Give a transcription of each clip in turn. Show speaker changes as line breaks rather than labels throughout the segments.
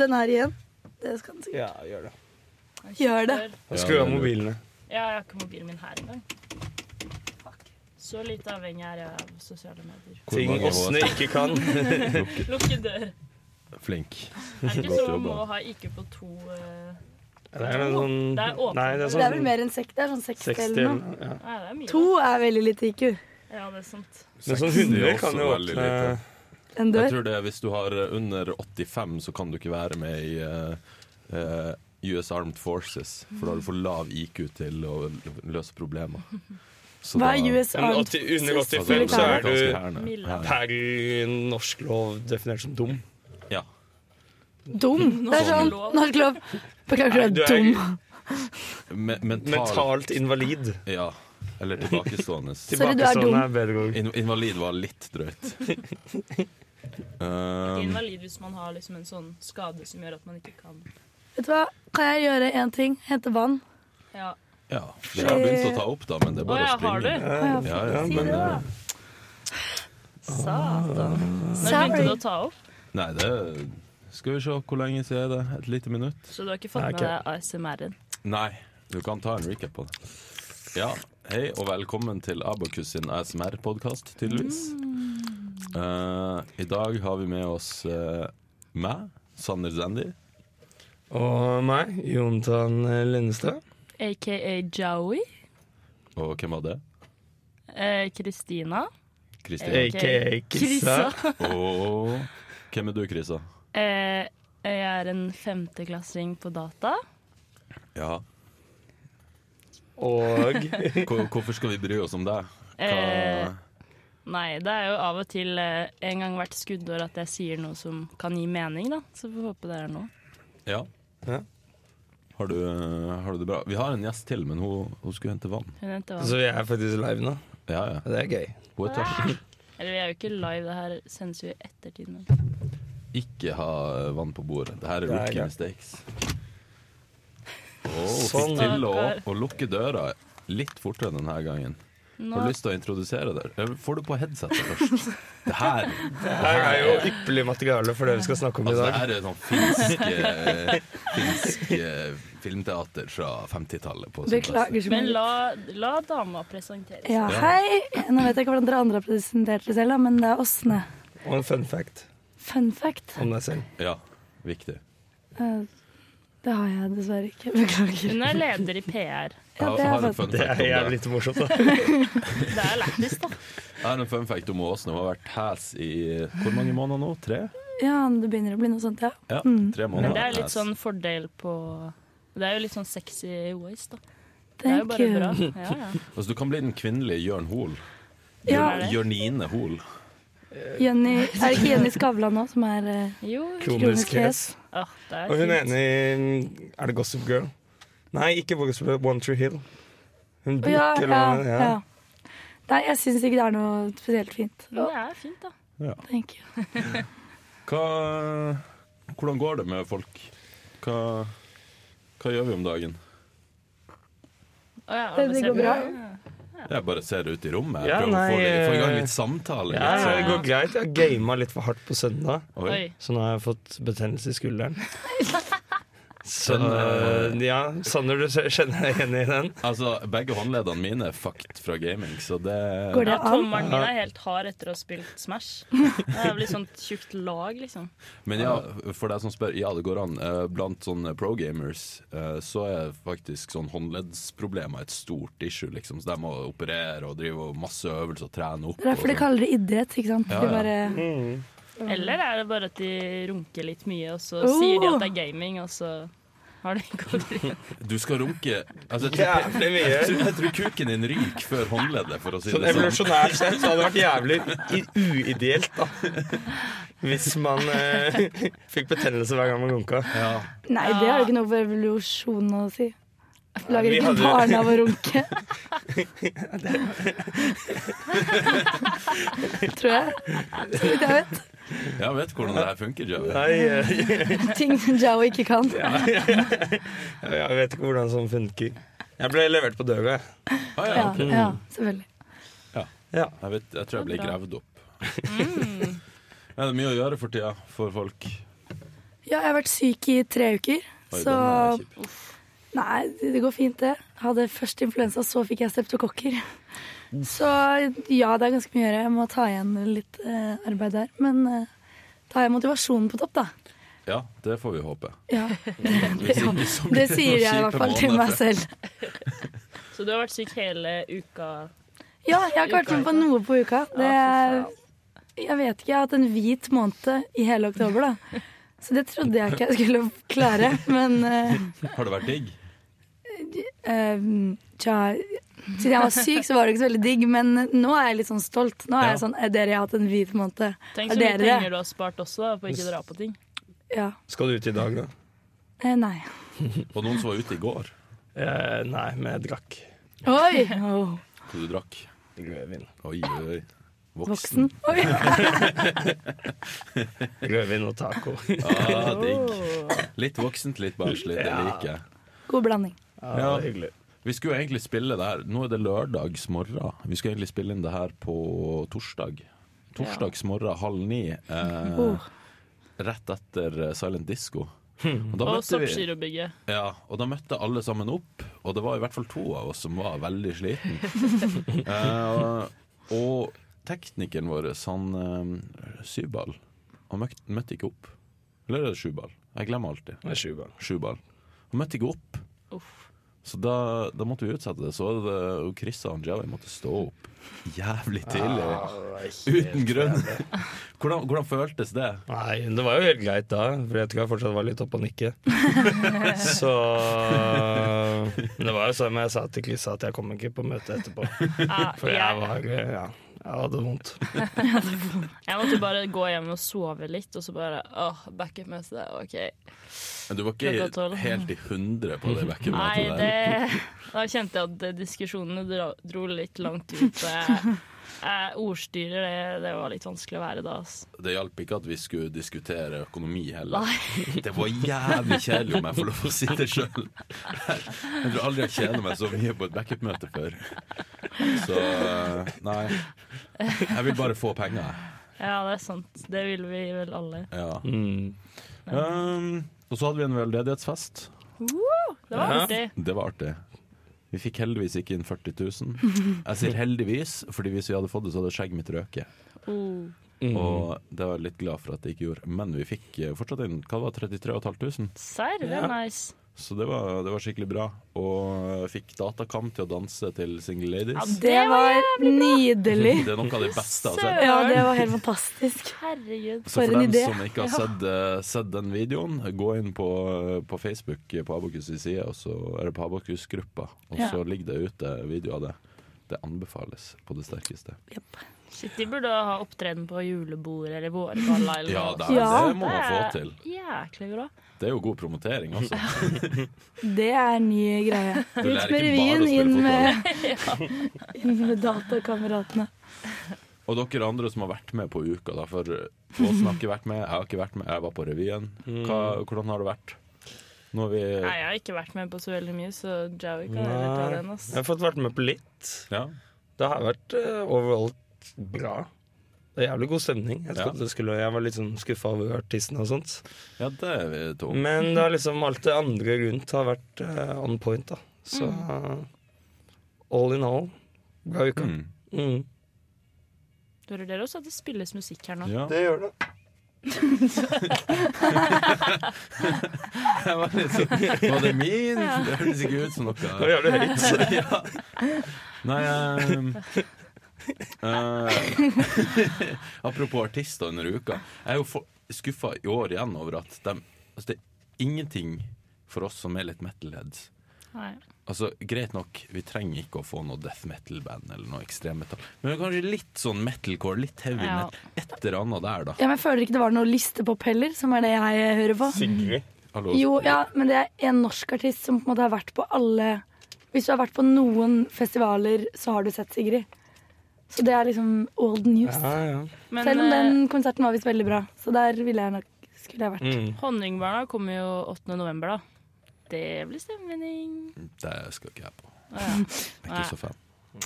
Den her igjen. Det skal den sikkert.
Ja, gjør det.
Gjør det.
Skru av mobilene.
Ja, jeg har ikke mobilen min her engang. Så lite avhengig er jeg av sosiale medier.
Hvor
Ting
mange
åsne ikke kan.
Lukke dør.
var Flink.
Er det ikke
Godt
sånn man
jobba.
må ha IQ på to eh,
Det er en sånn
Det er åpent.
Nei,
Det
det er
er vel
sånn
mer enn seks. Det er sånn seks
60
eller
eller
noe.
noe. Ja.
Nei, det er mye.
To er veldig lite IQ.
Ja, det er sant.
Um.
Men sånn
60 er
100
også
kan jo
veldig
åpne
lite.
En
Jeg
dør.
tror det er Hvis du har eh, under 85, så kan du ikke være med i eh, eh, US Armed Forces. For da har du for lav IQ til å l- løse problemer. Så
Hva
da-
er US
Men
Armed
80 under
Forces
85, Fem,
militære?
så er du-
Amerikanske hærene.
Milla.
Ja.
per norsk lov definert som dum.
Ja.
Dum. Det er sånn
Norsk lov.
norsk lov. Beklager,
Nei,
du
du er-
er dum.
Me mental,
Mentalt invalid.
Ja. Eller tilbakestående.
Sorry, du er dum.
Tilbakestående er bedre ord.
In invalid var litt drøyt. Um,
Invalid hvis man har liksom en sånn skade som gjør at man ikke kan
Vet du hva, kan jeg gjøre én ting? Hente vann?
Ja.
ja. Det har jeg begynt å ta opp, da, men det er
Å
bare
ja,
å
har du?
springe.
Å,
Ja, ja,
Si
men,
det, da.
eh,
Satan. Når begynte
Sorry.
du å ta opp?
nei, det Skal vi se hvor lenge siden er det? Et lite minutt?
Så du har ikke fått
Nei,
med
ikke.
deg ASMR-en?
Nei, du kan ta en recap på det. Ja, hei og velkommen til Abakus sin ASMR-podkast, tydeligvis. Eh, I dag har vi med oss eh, meg, Sander Zendi.
Og meg, Jontan Lindestad.
AKA Joey. Eh,
Og hvem var det?
Kristina.
Kristin.
Hey.
AKA Kissa.
Og hvem er du, Krisa?
Eh, jeg er en femteklassing på data.
Ja.
Og
Hvor- Hvorfor skal vi bry oss om deg?
Eh,
Hva
nei, det er jo av og til eh, en gang hvert skuddår at jeg sier noe som kan gi mening, da. Så får vi håpe det er noe.
Ja.
Ja.
Har du, eh, har du det bra? Vi har en gjest til, men hun, hun skulle hente vann.
Hun heter hva?
Så vi er faktisk live nå.
Ja, ja.
Det er gøy.
Hun er tørst.
Eller vi er jo ikke live, det her sendes jo i ettertid. Men.
Ikke ha eh, vann på bordet. Det her er
Det er
rookie
greit.
mistakes. Og hun fikk
Sånn.
til å,
Stakkar.
å lukke døra litt fortere denne gangen.
Nå,
Har du lyst til å introdusere deg? Eh, Får du på headsetet først? Det her, det
Det
her
her er
er
jo ypperlig materiale for det vi skal snakke om i
Altså, det
dag.
her er sånn finsk, eh, finsk eh, filmteater fra 50-tallet. på sin
Beklager så
men
mye.
la, la dama presentere.
Ja, hei. Nå vet jeg ikke hvordan dere andre har presentert dere selv, da, men det er Åsne.
Og en fun fact
Fun fact.
om deg selv.
plass. Ja, viktig.
Eh, Det har jeg dessverre ikke. Beklager.
Hun er leder i PR.
Jeg har,
det er
har en
sant.
fun
Det
fact
er
om deg.
jævlig litt morsomt, da.
Det er lættis, da.
Jeg har en fun fact om Åsne. Hun har vært hæs i eh, hvor mange måneder nå? Tre?
Ja, det begynner å bli noe sånt, ja.
Ja, tre måneder.
Mm. Men det er litt
Hæs.
sånn fordel på Det er jo litt sånn sexy voice, da. Det er jo
Thank
bare bra.
you.
Ja, ja.
Altså, du kan bli den kvinnelige Jørn Hoel.
Ja,
Er det?
Jørnine Hoel.
Jenny, er det ikke Jenny Skavlan nå som er eh,
Jo,
Kronisk hes.
ah, det
Og
er
hun er
fint.
enig i Er det Gossip Girl? Nei, ikke Gossip Girl. One Tree Hill. Hun
Å, Ja,
bruker
ja, ja. Nei, jeg syns ikke det er noe spesielt fint.
Men det er fint, da.
Thank you.
Hva, hvordan går det med folk? Hva, hva gjør vi om dagen?
Å ja,
Det-
alle
det
ser
går
på.
bra.
Jeg bare ser ut i rommet. Jeg
Ja,
prøver å få,
nei,
litt, få i gang
eh,
litt samtale.
Ja,
litt
ja,
sånn.
det går greit. Jeg har gama litt for hardt på søndag,
Oi.
Oi.
så nå har jeg fått betennelse i skulderen. Så eh,
Den,
ja, Sander, du kjenner deg igjen i den?
Altså, begge håndleddene mine er fucked fra gaming, så det
Går det
Ja,
an?
tommelen min er helt hard etter å ha spilt Smash. Det er blitt sånt tjukt lag, liksom.
Men ja, for deg som spør, ja, det går an. Eh, Blant sånne pro gamers eh, så er faktisk sånn håndleddsproblemer et stort issue, liksom. Så de må operere og drive og masse øvelser og trene opp.
Det er derfor de
og sånn.
kaller det idrett, ikke sant?
Ja,
De
ja.
bare,
Eller er det bare at de runker litt mye, og så
Oh.
sier de at det er gaming, og så har de gått rundt.
Du skal runke altså, jeg, tror,
Jævlig mye.
jeg, tror, jeg tror kuken din ryker før håndleddet, for å si
Sånn
det sånn.
evolusjonært sett så hadde det vært jævlig i- uideelt, da. Hvis man eh, fikk betennelse hver gang man runka.
Ja.
Nei, det har jo ikke noe for evolusjon å si. Lager
vi
ikke
hadde-
barn av å runke. Tror jeg. Så vidt jeg vet.
Jeg vet hvordan det her funker, Joey.
Nei, eh,
Ting som Joe ikke kan.
jeg vet ikke hvordan sånn funker. Jeg ble levert på døra, jeg.
Ah, ja,
Ja,
ok.
ja, selvfølgelig.
Ja.
jeg, vet, jeg tror jeg
Det
ble
er bra.
gravd opp.
Mm.
Ja, det er mye å gjøre for tida for folk.
Ja, jeg har vært syk i tre uker,
Oi,
så
den er kjip.
Nei, det går fint, det. Hadde først influensa, så fikk jeg streptokokker. Så ja, det er ganske mye å gjøre. Jeg må ta igjen litt eh, arbeid der. Men eh, ta igjen motivasjonen på topp, da.
Ja, det får vi håpe.
Ja,
Hvis ikke så blir
Det
noen
sier jeg i
kjipe
hvert fall til
måneder.
meg selv.
Så du har vært syk hele uka?
Ja, jeg har ikke vært med på noe på uka. Det,
Ja,
jeg vet ikke, jeg har hatt en hvit måned i hele oktober, da. Så det trodde jeg ikke jeg skulle klare, men eh,
Har det vært digg?
Eh, tja, siden jeg var syk, så var det ikke så veldig digg, men nå er jeg litt sånn stolt. Nå er jeg
Ja.
sånn Er dere jeg har hatt en hvit måned?
Tenk
Er
så mye
dere det?
penger du har spart også da, på å ikke dra på ting.
Ja.
Skal du ut i dag, da?
Eh, nei.
Og noen som var ute i går,
Eh, nei, men jeg drakk.
Oi! Åh,
hvor du drakk.
Rødvin.
Oi, oi, oi. Voksen.
voksen. Oi.
Rødvin og taco.
Ah, digg.
Åh.
Litt voksent, litt barnslig. Det
Ja.
liker jeg.
God blanding.
Ja, det er hyggelig.
Vi skulle jo egentlig spille det her Nå er det lørdagsmorgen. Vi skulle egentlig spille inn det her på torsdag. Torsdagsmorgen halv ni. Eh,
Åh.
rett etter eh, Silent Disco. Og da
Og
møtte vi
Soppgirobygget.
Ja, og da møtte alle sammen opp, og det var i hvert fall to av oss som var veldig sliten. Eh, og teknikeren vår, han eh, Syvball, han møtte, møtte ikke opp. Eller er det Sjuball? Jeg glemmer alltid.
Det er sju barn.
Sjuball. Han møtte ikke opp,
Uff.
så da, da måtte vi utsette det. Så var det og Chris og Angeli måtte stå opp jævlig tidlig. Uten grunn. Hvordan, hvordan føltes det?
Nei, det var jo helt greit da, for jeg tror jeg fortsatt var litt oppe og nikke. Så Men det var jo som jeg sa til Krissa, at jeg kom ikke på møte etterpå.
Ah,
For jeg
jeg,
var Ja, jeg hadde vondt.
jeg måtte bare gå hjem og sove litt, og så bare åh, backup-møte. OK.
Men Du var
Klokka
ikke
tolv.
helt i hundre på det
Nei,
backup-møtet der.
det Da kjente jeg at eh, diskusjonene dro, dro litt langt ut. så Jeg, jeg ordstyrer, det, det var litt vanskelig å være da. ass.
Det hjalp ikke at vi skulle diskutere økonomi heller. Det var jævlig kjedelig om jeg får lov å si det sjøl. Jeg tror aldri jeg kjeder meg så mye på et backup-møte før. Så eh, nei. Jeg vil bare få penger.
Ja, det er sant. Det ville vi vel alle.
Ja.
Mm.
Um, og så hadde vi en veldedighetsfest.
Det var
Ja.
artig.
Det var artig. Vi fikk heldigvis ikke inn 40 000. Jeg sier heldigvis, fordi hvis vi hadde fått det, så hadde skjegget mitt røket.
Oh.
Og det var jeg litt glad for at det ikke gjorde. Men vi fikk eh, fortsatt inn hva var det, 33 500.
Serr, det
Ja.
er nice.
Så det var, det var skikkelig bra. Og fikk Datacam til å danse til Single Ladies.
Det var nydelig.
Det er noe av det beste jeg har sett.
Ja, det var helt fantastisk.
Herregud.
Så
for
for
en
dem
idé.
som ikke har sett, eh, sett den videoen, gå inn på, på Facebook eh, på Abokus' side, og så er det på Abokus-gruppa, og
Ja.
så ligger det ute video av det. Det anbefales på det sterkeste.
Shit, de burde ha opptreden på julebord eller vårballa eller
Ja,
noe.
det, er,
Ja.
det må man få til.
Det er Jæklig bra.
Det er jo god promotering, altså.
Det er ny greie.
Du
Ut med
lærer ikke bare å
revyen,
spille
inn eh.
fotball.
med, inn med datakameratene.
Og dere andre som har vært med på uka, da, for Åsen har ikke vært med, jeg har ikke vært med, jeg var på revyen. Hva, hvordan har det vært? Nå er vi
Nei, jeg har ikke vært med på så veldig mye, så Jowie kan heller ta den. ass.
Jeg har fått vært med på litt.
Ja,
Det har vært eh, overalt bra. Det er jævlig god stemning. Jeg,
Ja.
trodde det skulle, jeg var litt sånn skuffa over artistene og sånt.
ja det er vi to.
Men det har liksom alt det andre rundt har vært eh, on point, da. Så eh, all in all, bra uke.
Mm.
Mm.
Du hører dere også at det spilles musikk her nå?
Ja.
Det gjør det.
Jeg var, litt sånn, var det min? Det hørtes ikke ut som
Nå
noe
gjør det høyt. så-
ja. Nei ehm, eh, Apropos artister under uka. Jeg er jo skuffa i år igjen over at dem- altså det er ingenting for oss som er litt metalheads.
Nei.
Altså, Greit nok, vi trenger ikke å få noe death metal-band eller noe ekstremmetall. Men kanskje litt sånn metalcore, litt heavy
Ja.
metal. Et eller annet der, da.
Ja, men jeg føler ikke det var noe listepop heller, som er det jeg hører på.
Sigrid.
Hallo. altså.
Jo, ja, men det er en norsk artist som på en måte har vært på alle Hvis du har vært på noen festivaler, så har du sett Sigrid. Så det er liksom old news.
Ja, ja.
Men
Selv om
eh,
den konserten var visst veldig bra, så der ville jeg nok skulle jeg vært.
Mm.
Honningbarna kommer jo 8. november, da. Det blir stemmevinning.
Mm, Det skal ikke jeg på.
Å, ja.
Jeg er ikke så fan.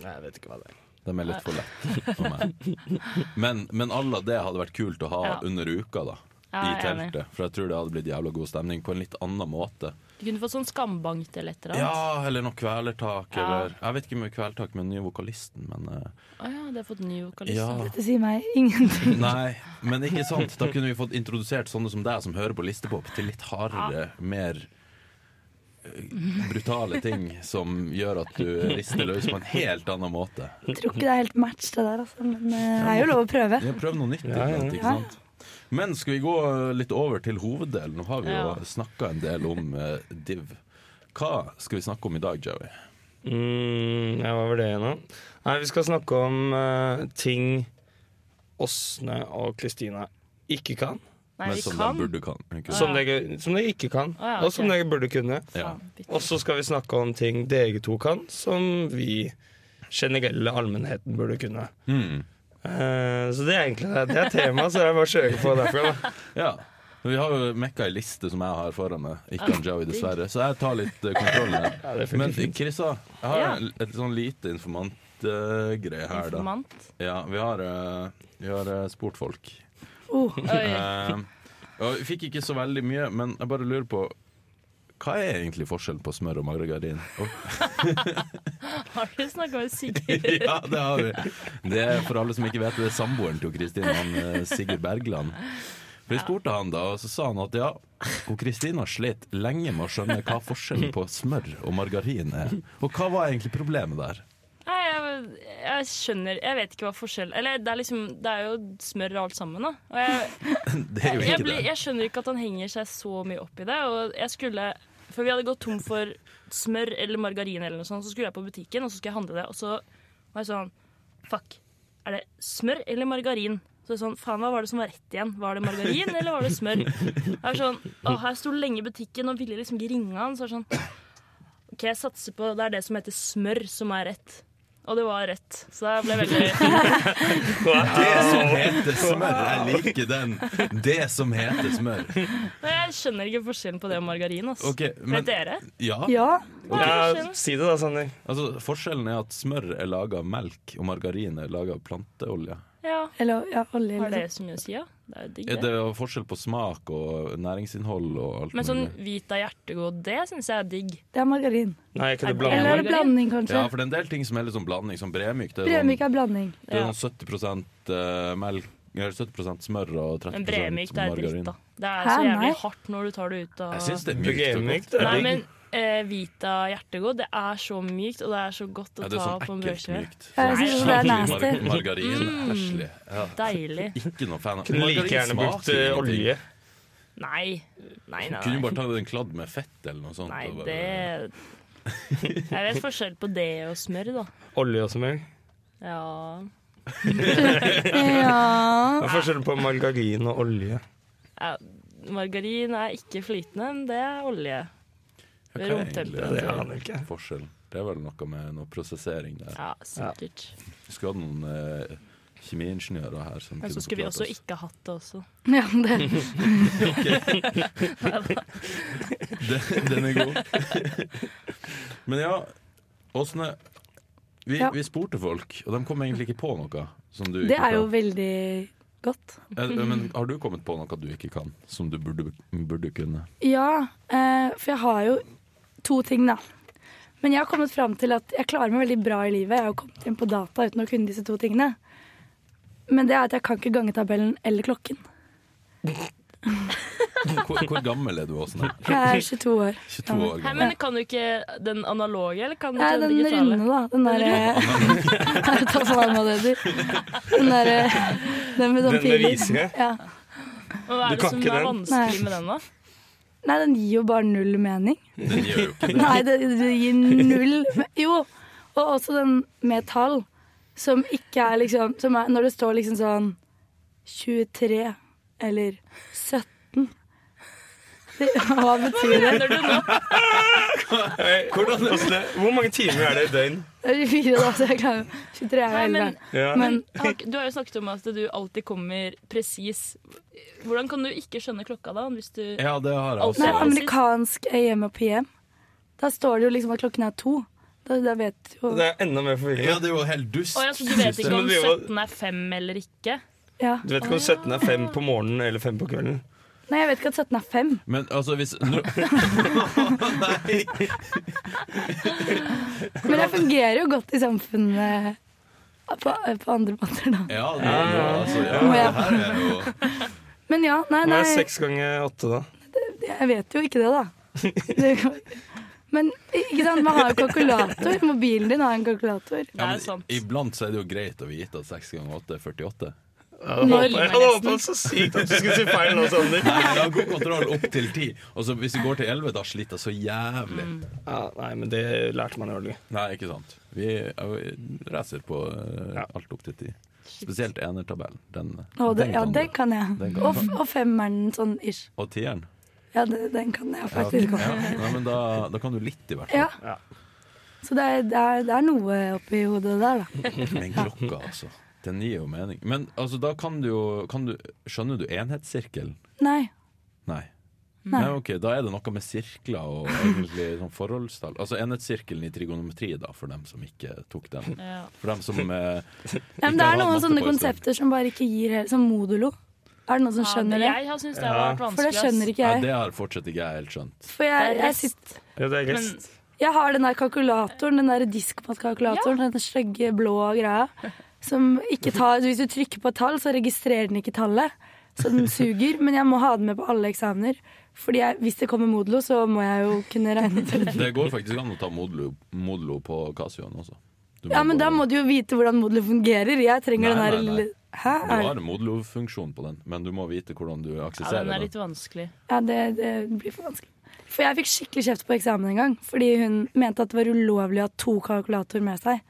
Nei, jeg vet ikke hva det er.
De er litt for lette for meg. Men, men alle det hadde vært kult å ha
Ja.
under uka, da.
Ja,
I
jeg er enig.
teltet. For jeg tror det hadde blitt jævla god stemning på en litt annen måte.
Du kunne fått sånn skambankt eller et eller annet.
Ja, eller noe kvelertak,
Ja.
eller Jeg vet ikke med kvelertak med den nye vokalisten, men eh,
Å ja, de har fått ny vokalist.
Ja.
Dette sier meg ingenting.
Nei, men ikke sant. Da kunne vi fått introdusert sånne som deg, som hører på listepop, til litt hardere, mer eh, brutale ting som gjør at du rister løs på en helt annen måte.
Jeg tror ikke det er helt match, det der, altså. Men eh, det er jo lov å prøve.
Ja, Prøv noe nytt.
Ja, ja,
iblant,
ja.
ikke sant? Men skal vi gå eh, litt over til hoveddelen? Nå har vi jo
Ja.
snakka en del om eh, div. Hva skal vi snakke om i dag, Joey?
Mm, ja, hva var det igjen, da? Nei, vi skal snakke om eh, ting Åsne og Kristina ikke kan.
Nei,
Men
vi
som
kan.
de burde kan. ikke sant?
Som, dere, som dere ikke kan,
Å, ja,
og som
ok.
dere burde kunne.
Ja.
Faen, bitte.
Og så skal vi snakke om ting dere to kan, som vi generelle allmennheten burde kunne.
Mm.
Eh, så det er egentlig det. Det er temaet, så jeg bare kjører på derfra. Da.
Ja. Men Vi har jo mekka ei liste som jeg har foran meg, ikke
Ah,
han Joey, dessverre. Så jeg tar litt eh, kontroll her.
Ja, det er
Men
fint.
Krissa, jeg har
Ja.
en- et sånn lite informantgreie her, da.
Informant.
Ja, vi har, eh, vi har eh, spurt folk.
Oh,
Oi.
Eh, og vi fikk ikke så veldig mye, men jeg bare lurer på hva er egentlig forskjellen på smør og margarin? Og,
Har du snakka med Sigurd?
ja, det har vi. Det er for alle som ikke vet det, er samboeren til Kristin, han eh, Sigurd Bergland. For Jeg spurte han da, og så sa han at ja, og Kristina slet lenge med å skjønne hva forskjellen på smør og margarin er. Og hva var egentlig problemet der?
Nei, jeg, jeg skjønner Jeg vet ikke hva forskjell Eller det er liksom Det er jo smør og alt sammen, da. Og jeg,
Det er jo
jeg,
ikke
blir,
det.
jeg skjønner ikke at han henger seg så mye opp i det. Og jeg skulle For vi hadde gått tom for smør eller margarin, eller noe sånt, så skulle jeg på butikken og så skulle jeg handle det. Og så var jeg sånn Fuck. Er det smør eller margarin? Så jeg sånn, faen, Hva var det som var rett igjen? Var det margarin eller var det smør? Jeg var sånn, åh, jeg sto lenge i butikken og ville liksom ikke ringe han. Så jeg var sånn, OK, jeg satser på det er det som heter smør, som er rett. Og det var rett. Så da ble jeg veldig
Det som heter smør, jeg liker den. Det som heter smør.
Men Jeg skjønner ikke forskjellen på det og margarin. ass.
Ok, men
Vet dere?
ja,
ja.
Hva er
Ja,
forskjellen?
si det da, Sander.
altså forskjellen er at smør er laga av melk, og margarin er laga av planteolje.
Ja.
Eller ja, olje. liksom.
Har
Eller
det
sånt.
så mye å si, ja? Det er jo digg,
Ja, Det
det.
er jo forskjell på smak og næringsinnhold og alt
Men sånn
mulig.
hvit av hjertegod, det syns jeg er digg.
Det er margarin.
Nei, ikke det
Er det-
blande.
Eller er det blanding, kanskje?
Ja, for det er en del ting som er litt sånn blanding, som bremyk. Det er sånn,
Bremyk er blanding.
det er
Ja.
sånn 70 eh, melk eller 70 smør og 30
Men bremyk, det er dritt,
sånn margarin.
da. Det er
Hæ,
så jævlig
nei.
hardt når du tar det ut av
Jeg syns det er mykt. og
Bremyk,
godt.
det
Nei,
er digg.
men eh, hvit av hjertegod, det er så mykt, og det er så godt å
Ja, det er
ta
sånn
på en
ekkelt
brødskive.
mykt.
Ja, jeg
synes
Sånn
det er
skikkelig mar-
nasty.
Margarin.
Mm.
Æsjelig. Ja.
Deilig.
Ikke noe fan av
Kunne like
Margarin
gjerne brukt
smaker
eh,
ingenting.
olje.
Nei. Nei, nei,
Kunne jo
nei.
bare tatt en kladd med fett eller noe sånt.
nei
og bare-
det Jeg vet forskjell på det og smør, da.
Olje og smør.
Ja.
Ja.
Hva er forskjellen på margarin og olje?
ja. Margarin er ikke flytende, men det er olje.
Ja, hva er
Romtemperatur.
egentlig
Det aner jeg ikke.
Forskjellen. Det er vel noe med noe prosessering der.
Ja, sikkert.
Vi skulle hatt noen eh, kjemiingeniører her. Som
Men så
kunne
skulle vi
forklart
også
oss.
ikke hatt det også.
ja det.
Den, den er god. Men ja, Åsne. Vi,
Ja.
vi spurte folk, og de kom egentlig ikke på noe. Som du
det
ikke
er jo
kan.
veldig godt.
Eh, Men har du kommet på noe du ikke kan, som du burde, burde kunne?
Ja, eh, for jeg har jo to ting, da. Men jeg har kommet fram til at jeg klarer meg veldig bra i livet. Jeg har jo kommet inn på data uten å kunne disse to tingene. Men det er at jeg kan ikke gangetabellen eller klokken.
Hvor, hvor gammel er du, Åsne?
Jeg er 22 år.
22 år
Hei,
gammel.
men kan du ikke den analoge, eller kan du
Nei,
ikke den
den
digitale?
runde, da. Den derre Ta for meg hva det heter. Den derre Den med
Den
sånn
med
piler.
visere?
Ja.
Og
Du
Hva er det
kan
som
ikke
er
den?
vanskelig
Nei.
med den, da?
Nei, den gir jo bare null mening.
Den gjør jo ikke det.
Nei, det, det gir null men- Jo, og også den med tall som ikke er liksom som er, Når det står liksom sånn 23 eller 17 det, Hva betyr det?
Mener du nå?
Hei, hvordan- Åsne, Hvor mange timer er det i døgn?
Det er 24, da, så jeg klarer 23 er jo
Nei,
elleve.
men,
Ja.
men har ikke- du har jo snakket om at du alltid kommer presis. Hvordan kan du ikke skjønne klokka da, hvis du
Ja, det har jeg
Nei,
også.
amerikansk AM og PM. Da står det jo liksom at klokken er to. Da, da vet du jo
Det er enda mer
Ja,
forvirring.
det er jo helt dust.
Å, ja, så du vet ikke om
Men vi var-
17 er fem eller ikke?
ja.
Du vet ikke om 17 er fem på morgenen eller fem på kvelden.
Nei, jeg vet ikke at 17 er fem.
Men altså, hvis nå-
Men jeg fungerer jo godt i samfunnet eh, på, på andre måter, da.
Ja, det er jo altså, ja,
Må jeg-
det her er jo
Men ja, nei,
Hva
nei.
er seks ganger åtte, da?
Jeg vet jo ikke det, da. Det, men ikke sant, man har jo kalkulator. Mobilen din har en kalkulator.
Det er
men
jo sant.
Iblant så er det jo greit å vite at 6 ganger 8 er 48.
Ja, det håper jeg
limer
jeg hadde
resten.
håpet så sykt at du skulle si feil nå, Sander.
Nei, men jeg har god kontroll opp til 10. Og så hvis vi går til 11, da sliter jeg så jævlig.
Mm.
Ja, nei, men det lærte man jo aldri.
Nei, ikke sant. Vi eh, racer på eh,
Ja.
alt opp til 10. Spesielt enertabellen. Den,
Å, det,
den
ja,
kan
den
du.
kan jeg.
Den kan
Og,
du.
f- og femmeren sånn ish.
Og tieren.
Ja, det, den kan jeg
Ja,
faktisk
ja.
også.
Nei, men da, da kan du litt, i hvert fall.
Ja. Så det er, det, er, det er noe oppi hodet der, da.
Men klokka, altså. Den gir jo mening. Men altså, da kan du jo kan du, Skjønner du enhetssirkelen?
Nei.
Nei.
Nei.
Nei, ok, Da er det noe med sirkler og egentlig sånn forholdstall. Altså enhetssirkelen i trigonometri, da, for dem som ikke tok den.
Ja.
For dem som eh,
Ja, men
Ikke
det
ha
er noen
matte
sånne
på i stedet.
konsepter som bare ikke gir helt Som modulo. Er det noen som
Ja,
skjønner det?
Jeg har syntes det har vært vanskelig.
For det skjønner ikke
Nei,
jeg.
det har fortsatt ikke jeg helt skjønt.
For jeg, jeg, sitter,
Ja, det er
Men
rest.
jeg har den der kalkulatoren, den der diskmat-kalkulatoren, den stygge blå greia, som ikke tar Hvis du trykker på et tall, så registrerer den ikke tallet, så den suger. Men jeg må ha den med på alle eksamener. Fordi jeg, hvis det kommer modulo, så må jeg jo kunne regne til det.
Det går faktisk an å ta modulo, modulo på Casioen også. Du
Ja, men da
bare-
må du jo vite hvordan modulo fungerer. Jeg trenger
Nei,
den der
nei, nei.
lille Hæ?
Du
Er det?
har en modulo-funksjon på den, men du må vite hvordan du
ja,
aksesserer
den er
den.
litt vanskelig.
Ja, det, det blir for vanskelig. For jeg fikk skikkelig kjeft på eksamen en gang, fordi hun mente at det var ulovlig å ha to kalkulatorer med seg.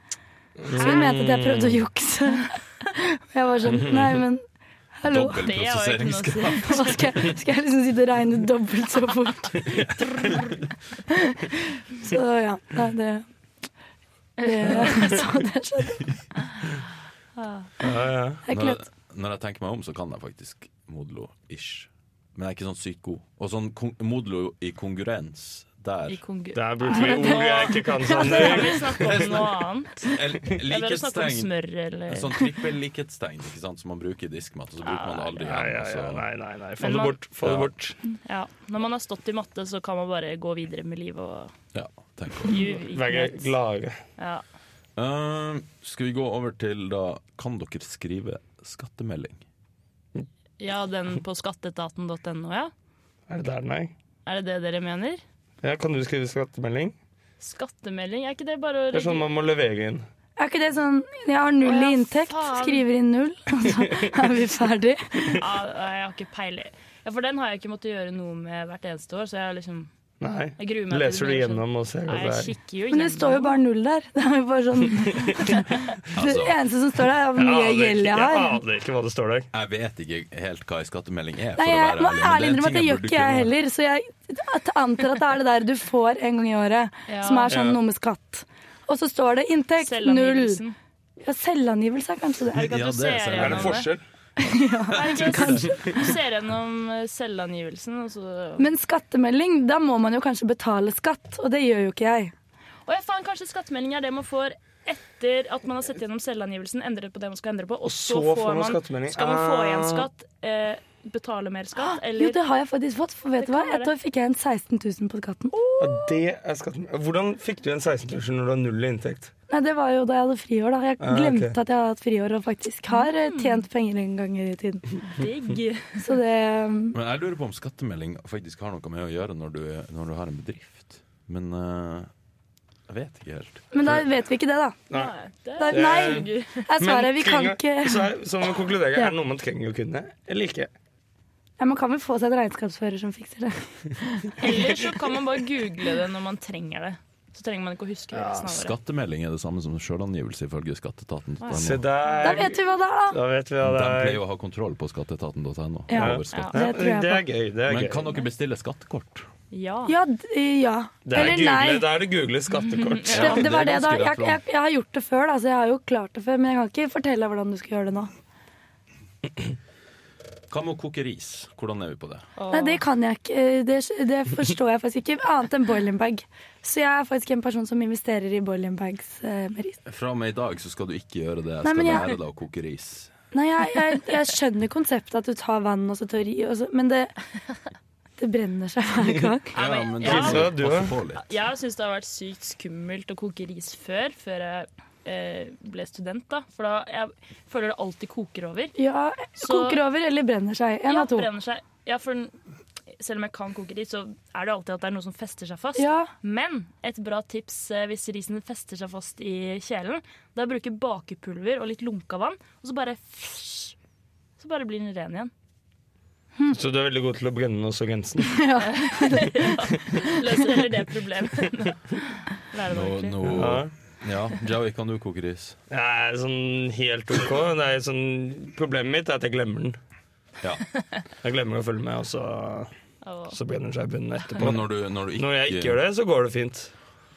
Så hun mente at jeg prøvde å jukse. Og jeg var sånn Nei, men hallo.
Dobbel
Det er jo ikke noe å
prosesseringsgrad.
si.
Hva skal, jeg, skal jeg liksom sitte og regne dobbelt så fort? Så ja. Nei, det, det Så det skjedde.
Ja, ja.
Det er ikke
Når,
lett.
jeg- når jeg tenker meg om, så kan jeg faktisk modulo-ish. Men jeg er ikke sånn sykt god. Og sånn kon modulo i kongruens der
I kongu-
Der brukte vi ord jeg ikke kan,
Jeg
Sander.
vil snakke om noe annet.
El-
Jeg vil snakke om
Likhetstegn.
smør eller
Sånn trippel-likhetstegn ikke sant, som man bruker i diskmat, og så bruker man det aldri
Ja, ja, ja,
igjen. altså. og så-
nei, nei, nei. Få
Men
det
man-
bort. Få det
Ja.
bort.
ja. Når man har stått i matte, så kan man bare gå videre med livet og
Ja, tenk på det.
ljuge. ikke
Være
nødt.
glade.
Ja.
Eh, skal vi gå over til da Kan dere skrive skattemelding?
ja, den på skatteetaten.no, ja.
Er det der den er?
Er det det dere mener?
Ja, kan du skrive skattemelding?
Skattemelding, er ikke det bare å
Det er sånn man må levere inn.
Er ikke det sånn Jeg har null i
Å, ja,
inntekt,
faen.
skriver inn null, og så er vi ferdig.
sånn-
Ja, Ah, jeg har ikke peiling. Ja, for den har jeg ikke måttet gjøre noe med hvert eneste år, så jeg, har liksom,
Nei.
jeg gruer meg. til
Leser du
blir sånn-
gjennom og ser
Nei,
hva
jeg
det er.
kikker jo
Men det står jo bare null der. Det er jo bare sånn Det
Altså,
eneste som står der, er hvor mye
Jeg aner
gjeld jeg
ikke- jeg
har.
aner ikke hva det står der.
jeg vet ikke helt hva en skattemelding er.
Nei,
for
jeg
å være
må
ærlig, men
ærlig
det er en
innrømme
ting
at det gjør
burde
ikke jeg
kunne.
heller. Så jeg antar at det er det der du får en gang i året,
Ja.
som er sånn
Ja.
noe med skatt. Og så står det inntekt null.
selvangivelsen.
Ja, selvangivelse er kanskje det.
Er det ikke at
Ja,
du
det er
ser
selvangivelse.
gjennom
Er det
Er det ikke at du ser gjennom eh, selvangivelsen, og så
Men skattemelding, da må man jo kanskje betale skatt, og det gjør jo ikke jeg.
Og jeg faen, kanskje skattemelding er det man får etter at man har sett gjennom selvangivelsen, endret på det man skal endre på, og så, får man,
skattemelding.
skal man få igjen
Ah.
skatt, eh, betale mer skatt,
Ah, Jo,
Ah, eller
det har jeg faktisk fått, for vet
Det
du hva?
kan
Et
være.
år fikk jeg en 16 000 på skatten.
Ja, det er skattemelding. Hvordan fikk du en 16-tusen når du har null i inntekt?
Nei, det var jo da jeg hadde friår, da. Jeg
Ah, ok.
glemte at jeg har hatt friår, og faktisk har eh, tjent penger en gang i tiden.
digg.
Så det um,
Men jeg lurer på om skattemelding faktisk har noe med å gjøre når du, når du har en bedrift. Men eh, jeg vet ikke helt.
Men da vet vi ikke det, da.
Nei.
Nei, det
Da-
er
Det-
digg.
Jeg svarer, vi kan
trenger-
ikke
Så er, så må vi konkludere,
Ja.
er det noe man trenger å kunne, eller ikke?
ja, Man kan vel få seg en regnskapsfører som fikser det.
Eller så kan man bare google det når man trenger det. Så trenger man ikke å huske det resten av året.
Skattemelding er det samme som selvangivelse ifølge skatteetaten.
Se
De
der.
Da vet vi hva det er, da!
Da vet vi hva det
pleier
er.
å ha kontroll på skatteetaten.no.
Ja.
over skatt.
Det
Ja.
tror jeg
det
på.
er gøy. Det er
Men
gøy.
kan dere bestille skattekort?
Ja.
Ja. d- eh, ja.
Det er
Eller
google,
nei.
da er det google skattekort.
Det,
Ja, det
det var det,
er
da.
ganske
Jeg,
rett
jeg, jeg har gjort det før, da, så jeg har jo klart det før. Men jeg kan ikke fortelle deg hvordan du skal gjøre det nå.
Hva med å koke ris? Hvordan er vi på det?
Nei, det kan jeg ikke. Eh, Det, det forstår jeg faktisk ikke, annet enn boiling bag. Så jeg er faktisk en person som investerer i boiling bags eh, med ris.
Fra og med i dag så skal du ikke gjøre det. Jeg
Nei,
skal
men jeg-
lære deg å koke ris.
Nei, jeg, jeg, jeg skjønner konseptet at du tar vann og så tør i, og så, men det, det brenner seg hver gang.
Ja, men-
men
ja.
da må
Lisa, du
passe
er-
på litt.
Jeg syns det har vært sykt skummelt å koke ris før, før jeg eh, ble student. da For da jeg føler det alltid koker over.
Ja,
Så-
koker over eller brenner seg. En
Ja,
av to.
brenner seg. Ja, for den, selv om jeg kan koke ris, så er det alltid at det er noe som fester seg fast.
Ja,
Men et bra tips eh, hvis risen fester seg fast i kjelen, det er å bruke bakepulver og litt lunka vann, og så bare fysj, Så bare blir den ren igjen.
Så du er veldig god til å brenne også grensen.
Løser heller det problemet. Lære
Nå,
det ordentlig.
nå,
Ja.
ja, Joey, kan du koke ris?
Jeg er sånn helt OK. Det er sånn, problemet mitt er at jeg glemmer den.
Ja.
Jeg glemmer å følge med, og så,
Og-
så brenner den seg i bunnen etterpå.
Men når du, når du ikke,
Når jeg ikke gjør det, så går det fint.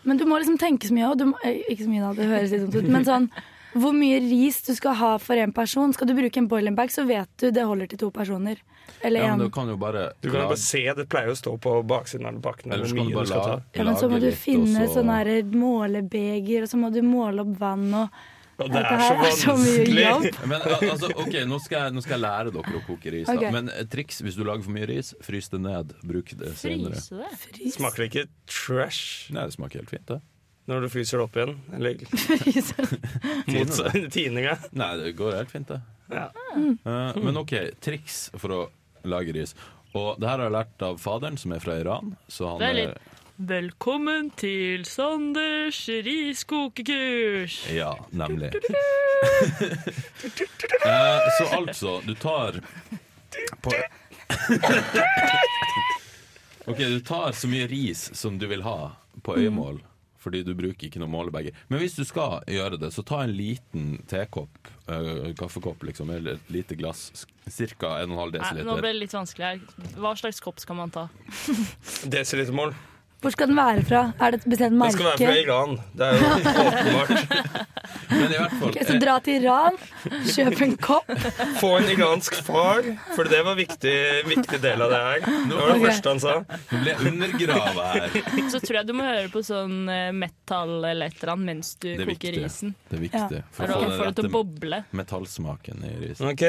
Men du må liksom tenke så mye og du må, eh, Ikke så mye da, det høres litt dumt ut Men sånn, hvor mye ris du skal ha for en person Skal du bruke en boiling bag, så vet du det holder til to personer Eller
ja, men
en
du kan jo bare
Du kan jo bare se, Det pleier jo å stå på baksiden av alle pakkene
Eller
hvor
så kan du
mye
bare
du skal ta.
la-
ja, men så må
lage
du
litt,
finne sånn
og så-
sånne her målebeger Og så må du måle opp vann og,
Og det
Dette
er så
her er så mye
vanskelig!
jobb.
Men al- altså, ok, nå skal, jeg, nå skal jeg lære dere å koke ris.
Ok.
Da. Men et triks hvis du lager for mye ris, frys det ned. Bruk det senere.
Fryse det?
fryser
Smaker det ikke trash
Nei, det smaker helt fint, det.
når du fryser det opp igjen? Eller
fryser.
mot tininga?
Nei, det går helt fint, det.
Ja.
Eh, men OK, triks for å lage ris. Og det her har jeg lært av faderen, som er fra Iran. Så han
Det er
er
litt- Velkommen til Sanders riskokekurs!
Ja, nemlig. Eh, så altså, du tar på OK, du tar så mye ris som du vil ha på
Mm.
øyemål, fordi du bruker ikke noe målebeger. Men hvis du skal gjøre det, så ta en liten tekopp, eh, kaffekopp liksom, eller et lite glass, ca. 1,5
Nei, nå
dl.
ble det litt vanskelig her. Hva slags kopp skal man ta?
Desilitermål.
Hvor skal den være fra? Er det et bestemt
Den skal være fra
merke?
Iran. Det er jo åpenbart.
Men i hvert fall
Ok, så
eh,
dra til Iran, kjøp en kopp
Få en iransk far, for det var en viktig, viktig del av det her. Det var det
Ok.
første han sa.
Nå ble jeg undergrava her.
Så tror jeg du må høre på sånn eh, metal eller et eller annet mens du
Det er
koker
viktig.
risen.
Det er viktig
For
for å
da
få
får det til
den rette
å boble.
metallsmaken i ris.
Ok,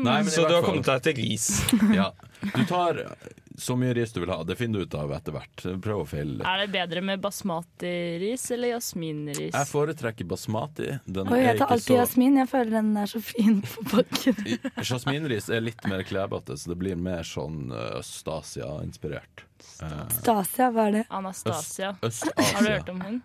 Nei, men i
Så du
hvert
har
fall-
kommet deg til gris.
Ja. Du tar eh, så mye ris du vil ha. Det finner du ut av etter hvert. Prøv å feile litt.
Er det bedre med basmati-ris eller jasminris?
Jeg foretrekker basmati. Den
Oi, jeg
er
tar
ikke
alltid
så
jasmin, jeg føler den er så fin på bakken
Jasminris er litt mer klebete, så det blir mer sånn eh, Øst-Asia-inspirert.
Stasia, hva er det?
Anastasia. Har du
Øst-Asia.
hørt om hun?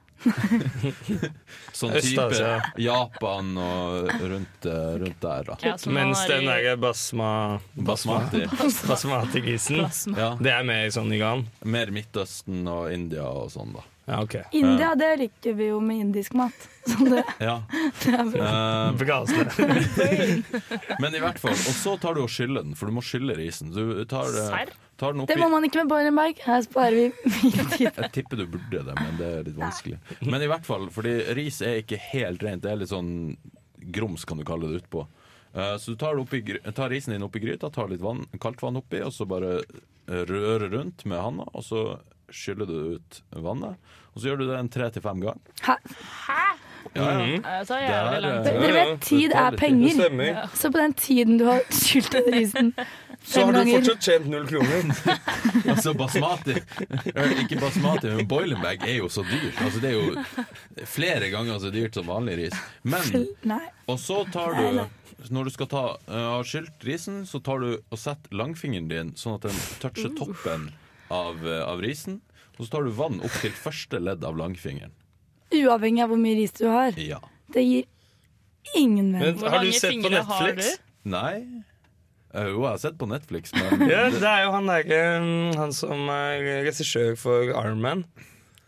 Sånn type
Øst-Asia.
Japan og rundt, eh, rundt der, da.
Ja, som han
Mens
har eh,
den
i-
der basma...
Basmati.
Basmati-grisen,
Plasma.
det er med i sånn Iran.
Mer Midtøsten og India og sånn, da.
Ja, ok.
India, det liker vi jo med indisk mat Så det,
Ja.
det er bra
Eh,
Brasende.
men i hvert fall. Og så tar du og skyller den, for du må skylle risen. Du tar, eh,
Serr?
tar den
Det
oppi
må man ikke med boiling bag. Her sparer vi mye tid.
Jeg tipper du burde det, men det er litt vanskelig. Men i hvert fall, fordi ris er ikke helt rent. Det er litt sånn grums, kan du kalle det utpå. Eh, Så du tar, det oppi, gry- tar risen din oppi gryta, tar litt vann, kaldt vann oppi, og så bare eh, rører rundt med handa, og så skyller du ut vannet. Og så gjør du det en tre til fem ganger.
Hæ?
Ja, ja.
Ja, Det tar
Der,
jævlig lang
eh,
tid.
Dere vet, tid er
Det
penger.
stemmer.
Så på den tiden du har skylt den risen
Så
fem
har du
ganger
fortsatt tjent null kroner.
Altså basmati eh, Ikke basmati, men boiling bag er jo så dyrt. Altså det er jo flere ganger så dyrt som vanlig ris. Men
Nei.
Og så tar du Når du skal ta eh, av skylt risen, så tar du og setter langfingeren din sånn at den toucher toppen av, eh, av risen. Og så tar du vann opp til første ledd av langfingeren.
Uavhengig av hvor mye ris du har.
Ja.
Det gir ingen mening.
Men
Hvor
har du
mange
sett på
fingre har
Netflix?
du?
Nei Eh, Jo, jeg har sett på Netflix, men
Ja, det er jo han der, um, han som er regissør for Iron Man.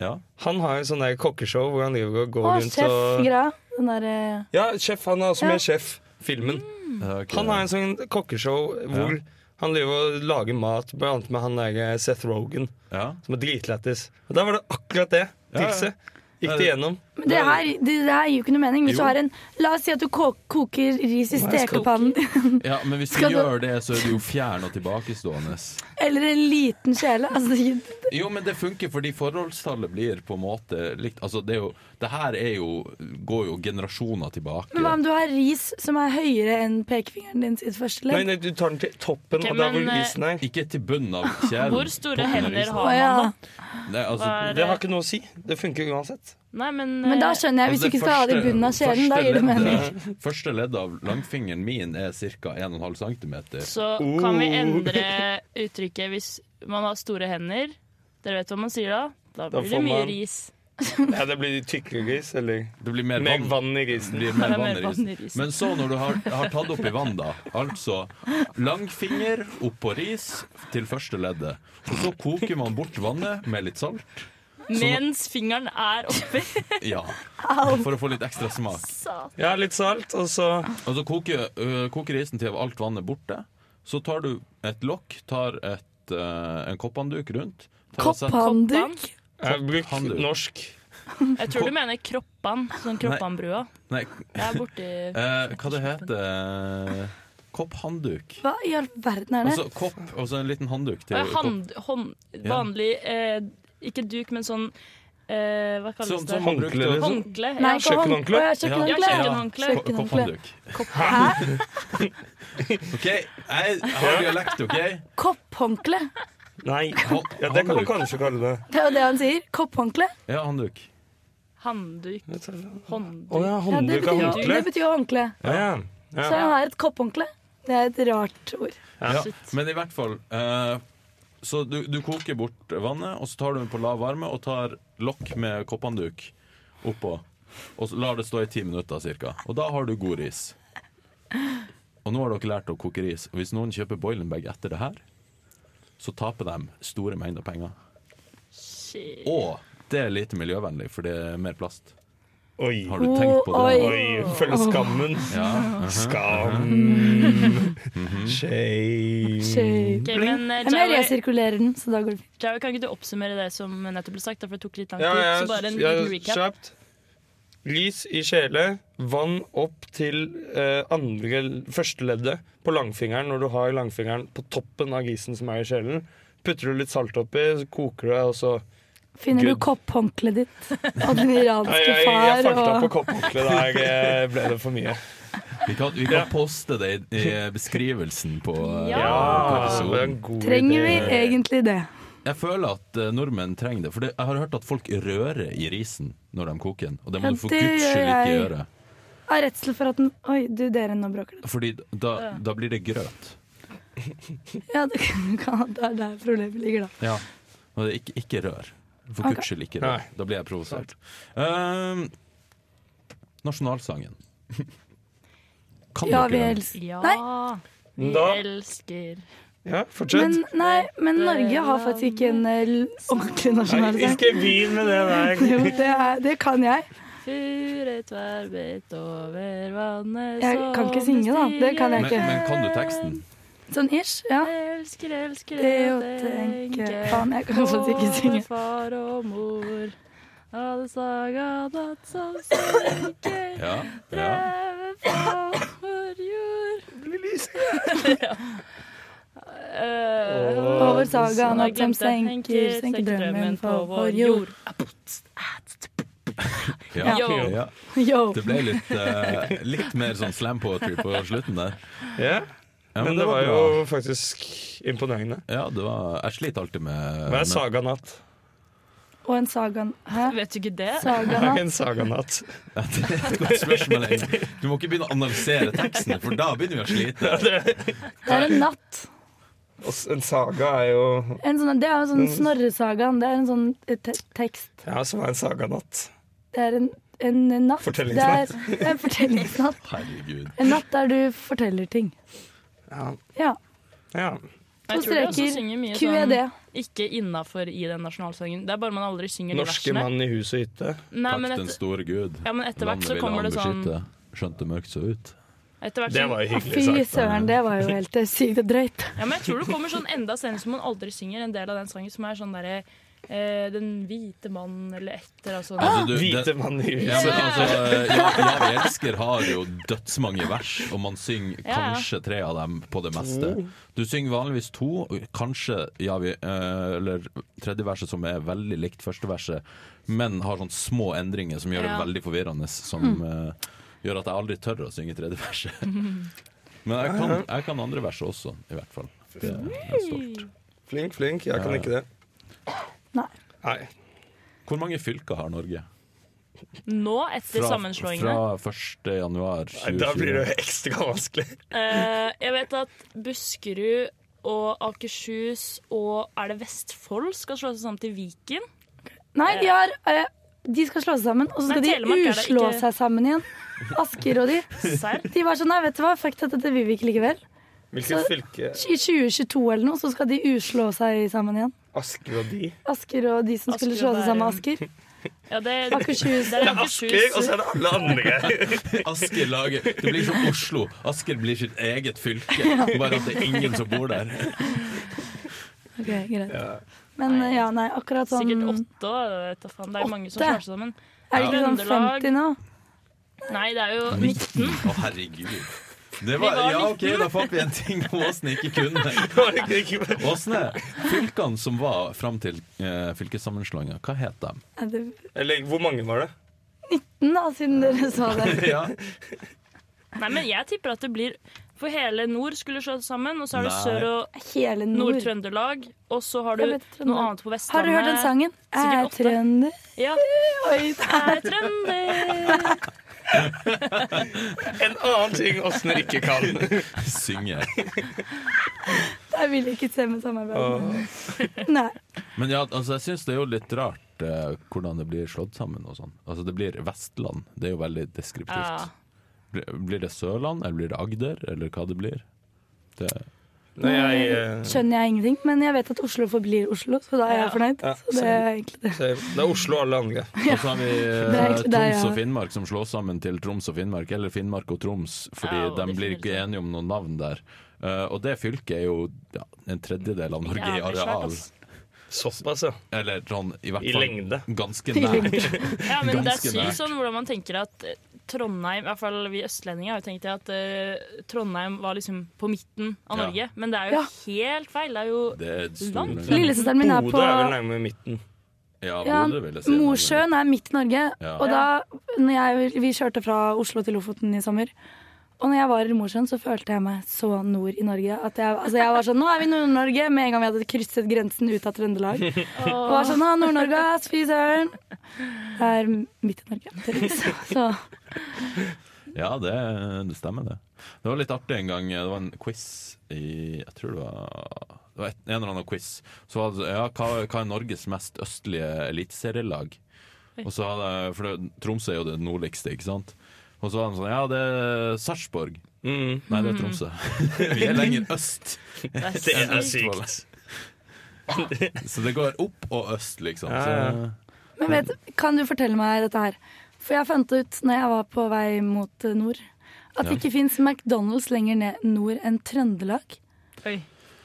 ja.
Han har jo sånn der kokkeshow hvor han driver og går
Å,
rundt
sjef,
og
greia. Den eh, derre
Ja, sjef. Han er også med
Ja.
i Sjef. Filmen.
Ok.
Han har en sånn kokkeshow hvor han driver og lager mat, blant annet med han der eh, Seth Rogan,
ja.
som er dritlættis. Og der var det akkurat det
Ja, ja.
tipset. Gikk det gjennom?
Men det her, det, det her gir jo ikke noe mening. Hvis du
Jo.
har en La oss si at du ko- koker ris i
Nei, jeg skal-
stekepannen.
Ja, men hvis du
Skal du-
gjør det, så er du jo fjern og tilbakestående.
Eller en liten kjele. Altså, det-
Jo, men det funker fordi forholdstallet blir på en måte likt. Altså, det, er jo, det her er jo, går jo generasjoner tilbake.
men hva om du har ris som er høyere enn pekefingeren din sitt første
Nei,
ledd?
nei, du tar den til toppen
Ok,
av der hvor
men, eh,
isen er.
Ikke til bunnen av kjelen.
Hvor store
Toppen av
hender
Å,
isen.
har man,
ja.
da?
Nei, altså,
Hva er-
Det har ikke noe å si. Det funker uansett.
Nei, men,
Men da
eh,
skjønner jeg, hvis du
Altså,
ikke skal ha det i bunnen av kjelen, da gir det
første
mening.
leddet- Første ledd av langfingeren min er ca. 1,5 cm.
Så kan vi endre uttrykket hvis man har store hender. Dere vet hva man sier da? Da
Da får
blir det mye
man-
ris.
Ja, det blir tykkere gris, eller
Det blir mer
mer
vann.
vann i
Det
grisen.
blir
Det
mer
er mer
vann i risen. Men så når du har, har tatt opp i vann, da. Altså langfinger oppå ris til første leddet. Og så koker man bort vannet med litt salt. Sånn
Mens fingeren er oppi.
Ja. For å få litt ekstra smak.
Satan.
Ja, litt salt, og så
Og så koker, øh, koker risen til alt vannet er borte. Så tar du et lokk, tar et, øh, en kopphandduk rundt. tar og
sånn-
setter-
Kopphandduk?
eh, bruk
Handel.
norsk.
Jeg tror du mener kroppan, sånn kroppanbrua.
Nei,
Det er borti
eh, hva det heter Kopphandduk.
Hva i all verden er det?
Altså kopp og så en liten handduk til
Hva er
kopp.
hand, hånd, Vanlig eh, Ikke duk, men sånn eh, Hva kalles
Sånn
det?
som man brukte
Håndkle, liksom.
Håndkle.
Nei,
Ja.
ikke hånd-
kjøkkenhåndkle?
Å, ja,
Ja,
Kjøkkenhåndkle.
kjøkkenhåndkle.
Kjøkken-
Kopphandduk.
Hæ?
OK, jeg har dialekt, OK?
Kopphåndkle?
Nei.
Hå-
Ja, det kan du
handduk.
kanskje kalle det.
Det er jo det han sier. Kopphåndkle.
Ja, handduk.
Handduk. Håndduk.
Å ja,
Ja, det
håndduk
betyr
av
jo-
håndkle.
det betyr jo håndkle.
Ja, ja.
Så
ja.
han har et kopphåndkle. Det er et rart ord.
Ja,
Shit.
men i hvert fall eh, Så du, du koker bort vannet, og så tar du den på lav varme og tar lokk med kopphandduk oppå. Og så lar det stå i ti minutter cirka. Og da har du god ris. Og nå har dere lært å koke ris. Og hvis noen kjøper boilenbag etter det her, så taper de store mengder penger.
Shit.
Og det er lite miljøvennlig, for det er mer plast.
Oi.
Har du tenkt på
Oi.
det?
Oi, følg skammen.
Ja. Mhm.
Skam. Shame.
Shit.
Ok, men eh,
Ja, Men jeg
Jawi,
resirkulerer den, så da går det fint.
Jawi, kan ikke du oppsummere det som nettopp ble sagt? da, For det tok litt lang tid.
Ja, ja,
så bare en
ja,
liten recap.
Kjapt. Lys i kjele, vann opp til eh, andre, første leddet på langfingeren når du har langfingeren på toppen av grisen som er i kjelen. Putter du litt salt oppi, så koker du deg, og så
Finner du
Good.
kopphåndkleet ditt og den
Nei,
iranske
jeg, jeg, jeg fant opp
far
på
og
kopphåndkleet der. eh, Ble det for mye?
Vi kan, vi
Ja.
kan poste det i, i beskrivelsen på, eh,
Ja.
på
Ja, Ah, det
episoden.
var en god
Trenger vi
idé.
egentlig det?
Jeg føler at eh, nordmenn trenger det. For det, jeg har hørt at folk rører i risen når de koker den. Og det må
Ja,
du for
det
guds
gjør
skyld ikke
jeg.
gjøre.
Av redsel for at den Oi, du, dere, nå bråker det.
Fordi da, da blir det grøt.
Ja, det kan- kan- det er der problemet ligger, da.
Og det er ikke, ikke rør. For
Ok.
guds skyld ikke rør.
Nei.
Da blir jeg provosert. Ehm, nasjonalsangen. Kan
Ja, vi
dere den?
elsker
Ja. Vi
Da,
elsker
ja, fortsett.
Men, nei, men Norge har faktisk ikke en eh, l- ordentlig
Nei,
nasjonalsang.
ikke begynn med det der.
Jo, det, er, det kan jeg.
Furet tverrbet over vannet
Jeg kan ikke synge, da. Det kan jeg
Men, men kan du teksten?
Sånn ish, ja.
Elsker, elsker
Det å tenke Faen, jeg kan faktisk ikke synge.
far og mor. Alle saga natt som synker.
Ja. ja.
Drevet på vår jord. Eh,
Over saga natt som senker, senker drømmen på vår jord.
ja.
Yo.
ja.
Yo.
Det ble litt, eh, litt mer sånn slam poetry på slutten der.
Ja,
Ja,
men det var
bra.
jo faktisk imponerende.
Ja, det var, jeg sliter alltid med
Hva er
med-
saganatt?
Og en saga Hæ?
Vet du ikke det?
Det er
Saga
ikke en saganatt.
Det er et godt spørsmål. egentlig. Du må ikke begynne å analysere teksten, for da begynner vi å slite.
Det er en natt.
Og s- En saga er jo
En sånn, det er jo
Mm.
sånn Snorresagaen. Det er en sånn eh, te tekst.
Ja, som er en saganatt.
Det er en, en natt.
Fortellingsnatt.
Det er en fortellingsnatt.
Herregud.
En natt der du forteller ting.
Ja.
Ja. E
ja.
Jeg
To
tror de også
streker.
synger mye
QED.
sånn ikke innafor i den nasjonalsangen. Det er bare man aldri synger
Norske
de versene.
mann i hus og hytte.
Nei,
Takk
men
den
et,
store gud.
ja, men etter hvert
Landet
så
ville
kommer
han
det sånn
beskytte. Skjønt det mørkt så ut.
Etter hvert
Det
sånn
var jo
Å,
hyggelig
fy
sagt.
søren, det var jo helt eh, sykt drøyt.
Ja, men jeg tror det kommer sånn enda senere som man aldri synger en del av den sangen som er sånn derre eh, Den hvite mannen eller et eller annet sånt.
Altså, du,
Hvite
det,
mann i
ja, men
huset.
altså, ja, jeg elsker har jo dødsmange vers, og man synger
Ja, ja.
kanskje tre av dem på det meste. Du synger vanligvis to, og kanskje ja, vi, eh, eller tredje verset som er veldig likt første verset, men har sånne små endringer som gjør det
Ja. Mm.
veldig forvirrende, som eh, gjør at jeg aldri tør å synge tredje verset.
Mm.
Men jeg kan, jeg kan andre verset også, i hvert fall. Det er stolt.
Flink, flink. Jeg kan ikke det.
Nei.
Nei.
Hvor mange fylker har Norge?
Nå, etter sammenslåingene
fra 1. januar
Nei, Da blir
2020.
det ekstra vanskelig.
Eh, Jeg vet at Buskerud og Akershus og er det Vestfold skal slå seg sammen til Viken.
Nei, de har eh, De skal slå seg sammen, og så skal
Nei,
de
Telemark er det
uslå
ikke-
seg sammen igjen. Asker og de.
Serr?
De var sånn nei, vet du hva, fuck dette, dette vil vi ikke likevel.
Hvilket fylke?
I 2022 eller noe, så skal de uslå seg sammen igjen.
Asker og de?
Asker og de som skulle
Asker
slå
og
seg sammen med
Bærum.
Asker.
Ja, det,
Akershus.
det er
Asker, og så er det alle andre.
Asker lager Det blir som Oslo. Asker blir sitt eget fylke, bare at det er ingen som bor der.
Ok, greit. Men eh, ja, nei, akkurat sånn
Sikkert åtte. da, jeg vet da faen. Det er mange som
Åtte?
slår seg sammen.
Er det ikke sånn
Trøndelag.
50 nå?
Nei, det er jo
19? Å, herregud. Det var,
Vi var
ja, OK, da fant vi en ting Åsne ikke kunne. Åsne, fylkene som var fram til eh, fylkessammenslåinga, hva het de?
Er det
Eller hvor mange var det?
19 da, siden dere sa det?
Ja.
Nei, men jeg tipper at det blir For hele nord skulle slå seg sammen, og så har du
Nei.
Sør- og
Hele nord.
Nord-Trøndelag, og så har du
Jeg vet Trøndelag.
noe annet på Vestlandet.
Har du hørt den sangen? Er
Sikkert åtte.
trønder.
Ja.
Oi,
Jeg er trønder.
En annen ting Åsne ikke kan.
Synge.
jeg vil ikke se med samarbeidet. Nei.
Men ja, altså, jeg syns det er jo litt rart eh, hvordan det blir slått sammen og sånn. Altså, det blir Vestland. Det er jo veldig
Ja.
deskriptivt. Blir, blir det Sørland, eller blir det Agder, eller hva det blir? Det,
Nei, jeg, eh,
Skjønner jeg ingenting, men jeg vet at Oslo forblir Oslo, så da er jeg
Ja.
fornøyd.
Ja,
Så det er egentlig det.
det er Oslo og alle andre.
og så har vi
Det er
eh,
egentlig det,
Troms
ja.
og Finnmark som slås sammen til Troms og Finnmark, eller Finnmark og Troms, fordi
Ja, og
de
det
blir
finner
ikke
seg.
enige om noen navn der. Eh, og det fylket er jo ja, en tredjedel av Norge i
Jævlig svært,
areal.
ass.
Såpass, ja.
Eller sånn i hvert
I
fall
lengde.
ganske
I
nært.
Ja, men det er
Ganske nært.
sykt sånn hvordan man tenker at eh, Trondheim, i hvert fall vi østlendinger, har jo tenkt at eh, Trondheim var liksom på midten av
Ja.
Norge. Men det er jo helt feil. Det er jo
Det er
Langt.
stor
Lillesøsteren min er
Bodø
på
er vel nærmere midten.
Ja,
ja,
Bodø vil jeg si.
Mosjøen er midt i Norge.
Ja.
Og da når jeg, vi kjørte fra Oslo til Lofoten i sommer, og når jeg var i Mosjøen, så følte jeg meg så nord i Norge. At jeg, altså jeg var sånn Nå er vi i Nord-Norge! Med en gang vi hadde krysset grensen ut av Trøndelag. Og var sånn Å, Nord-Norge, ass, fy søren! Det er midt i Norge. tydeligvis. Så
Ja, det, det stemmer det. Det var litt artig en gang. Det var en quiz i Jeg tror det var det var et, en eller annen quiz. Så var det, så- ja, hva, hva er Norges mest østlige eliteserielag? Og så hadde jeg- For det, Tromsø er jo det nordligste, ikke sant? Og så var de sånn Ja, det er Sarpsborg.
Mm.
Nei, det er Tromsø.
Mm.
Vi er lenger øst.
Det
enn
er
Østfold.
sykt.
Så det går opp og øst, liksom.
Ja, ja.
Så,
Men vet, kan du fortelle meg dette her? For jeg fant ut når jeg var på vei mot eh, nord, at det
Ja.
ikke fins McDonald's lenger ned nord enn Trøndelag.
Oi.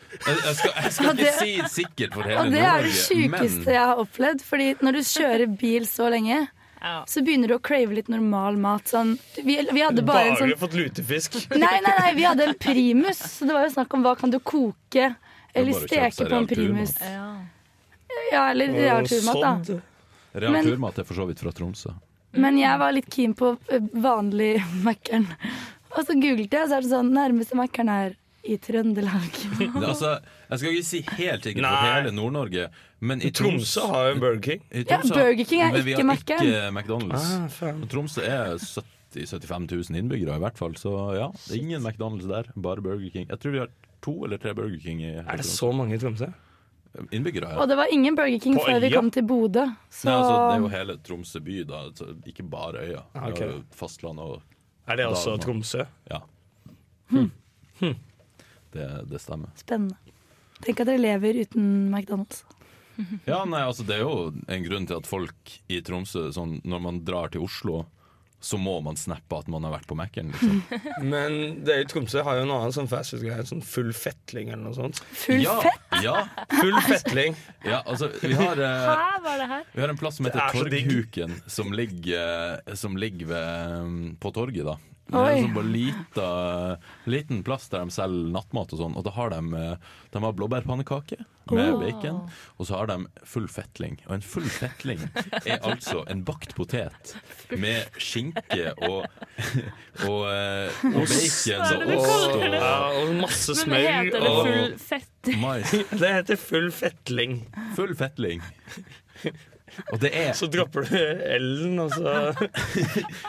jeg, jeg skal, jeg skal
Og det-
ikke si sikkert for hele
Og det er det
Nord-Norge,
sjukeste jeg har opplevd. Fordi når du kjører bil så lenge,
Ja.
så begynner du å crave litt normal mat. Sånn, vi, vi hadde bare en
Bare
sånn
fått lutefisk.
Nei, nei, nei, vi hadde en primus, så det var jo snakk om hva kan du koke eller
bare å kjøpe
steke
seg
på en
real
primus.
Ja.
Ja, eller real
Og
turmat, da.
sådd.
men Real
Men-
Turmat er for så vidt fra Tromsø.
Men jeg var litt keen på ø, vanlig Mækkern. Og så googlet jeg, så er det sånn Nærmeste Mækkern er i Trøndelag.
Det, er altså, jeg skal ikke si helt sikkert
Nei.
for hele Nord-Norge, men i
Tromsø har jo en Burger King.
i
Ja, Burger King er
men vi
ikke
har
Mac-en.
ikke McDonald's.
Ah, faen.
Og Tromsø er 70 75 000 innbyggere, i hvert fall. Så ja, det er ingen McDonald's der, bare Burger King. Jeg tror vi har to eller tre Burger King i
Er det så mange i Tromsø?
innbyggere her.
Og det var ingen Burger King
På
før vi
øya?
kom til Bodø. Så
Nei, altså, det er jo hele Tromsø by, da. Så ikke bare øya.
Ah, ok.
Det er jo fastland og
Er det
Da-
også Tromsø?
Ja.
Hm.
Hm. Det, det stemmer.
spennende. Tenk at dere lever uten McDonald's.
Ja, nei, altså Det er jo en grunn til at folk i Tromsø sånn, Når man drar til Oslo så må man snappe at man har vært på Mac-en. Liksom.
Men dere i Tromsø har jo en annen sånn fastfood-greie. Sånn full fettling eller noe sånt.
Full
ja,
fett!
Ja,
Full fettling.
ja, altså, vi har, eh,
Hæ, hva er det her?
vi har en plass som
Det
heter
er så digg.
Torghuken, som ligger, eh, som ligger ved, um, på torget, da. Det er
Oi.
en sånn bare lita, liten plass der de selger nattmat og sånn. Og da har de, eh, de har blåbærpannekake med
Oh.
bacon, og så har de full fetling. Og en full fetling er altså en bakt potet med skinke og, og, eh, og
Hva er
bacon
det
og
du
ost
kaller det?
og
Ja, og masse
Men
smør.
heter det
og-
full fett?
mais.
Det heter full fettling.
Full fettling. Og det er,
Så dropper du L-en, og så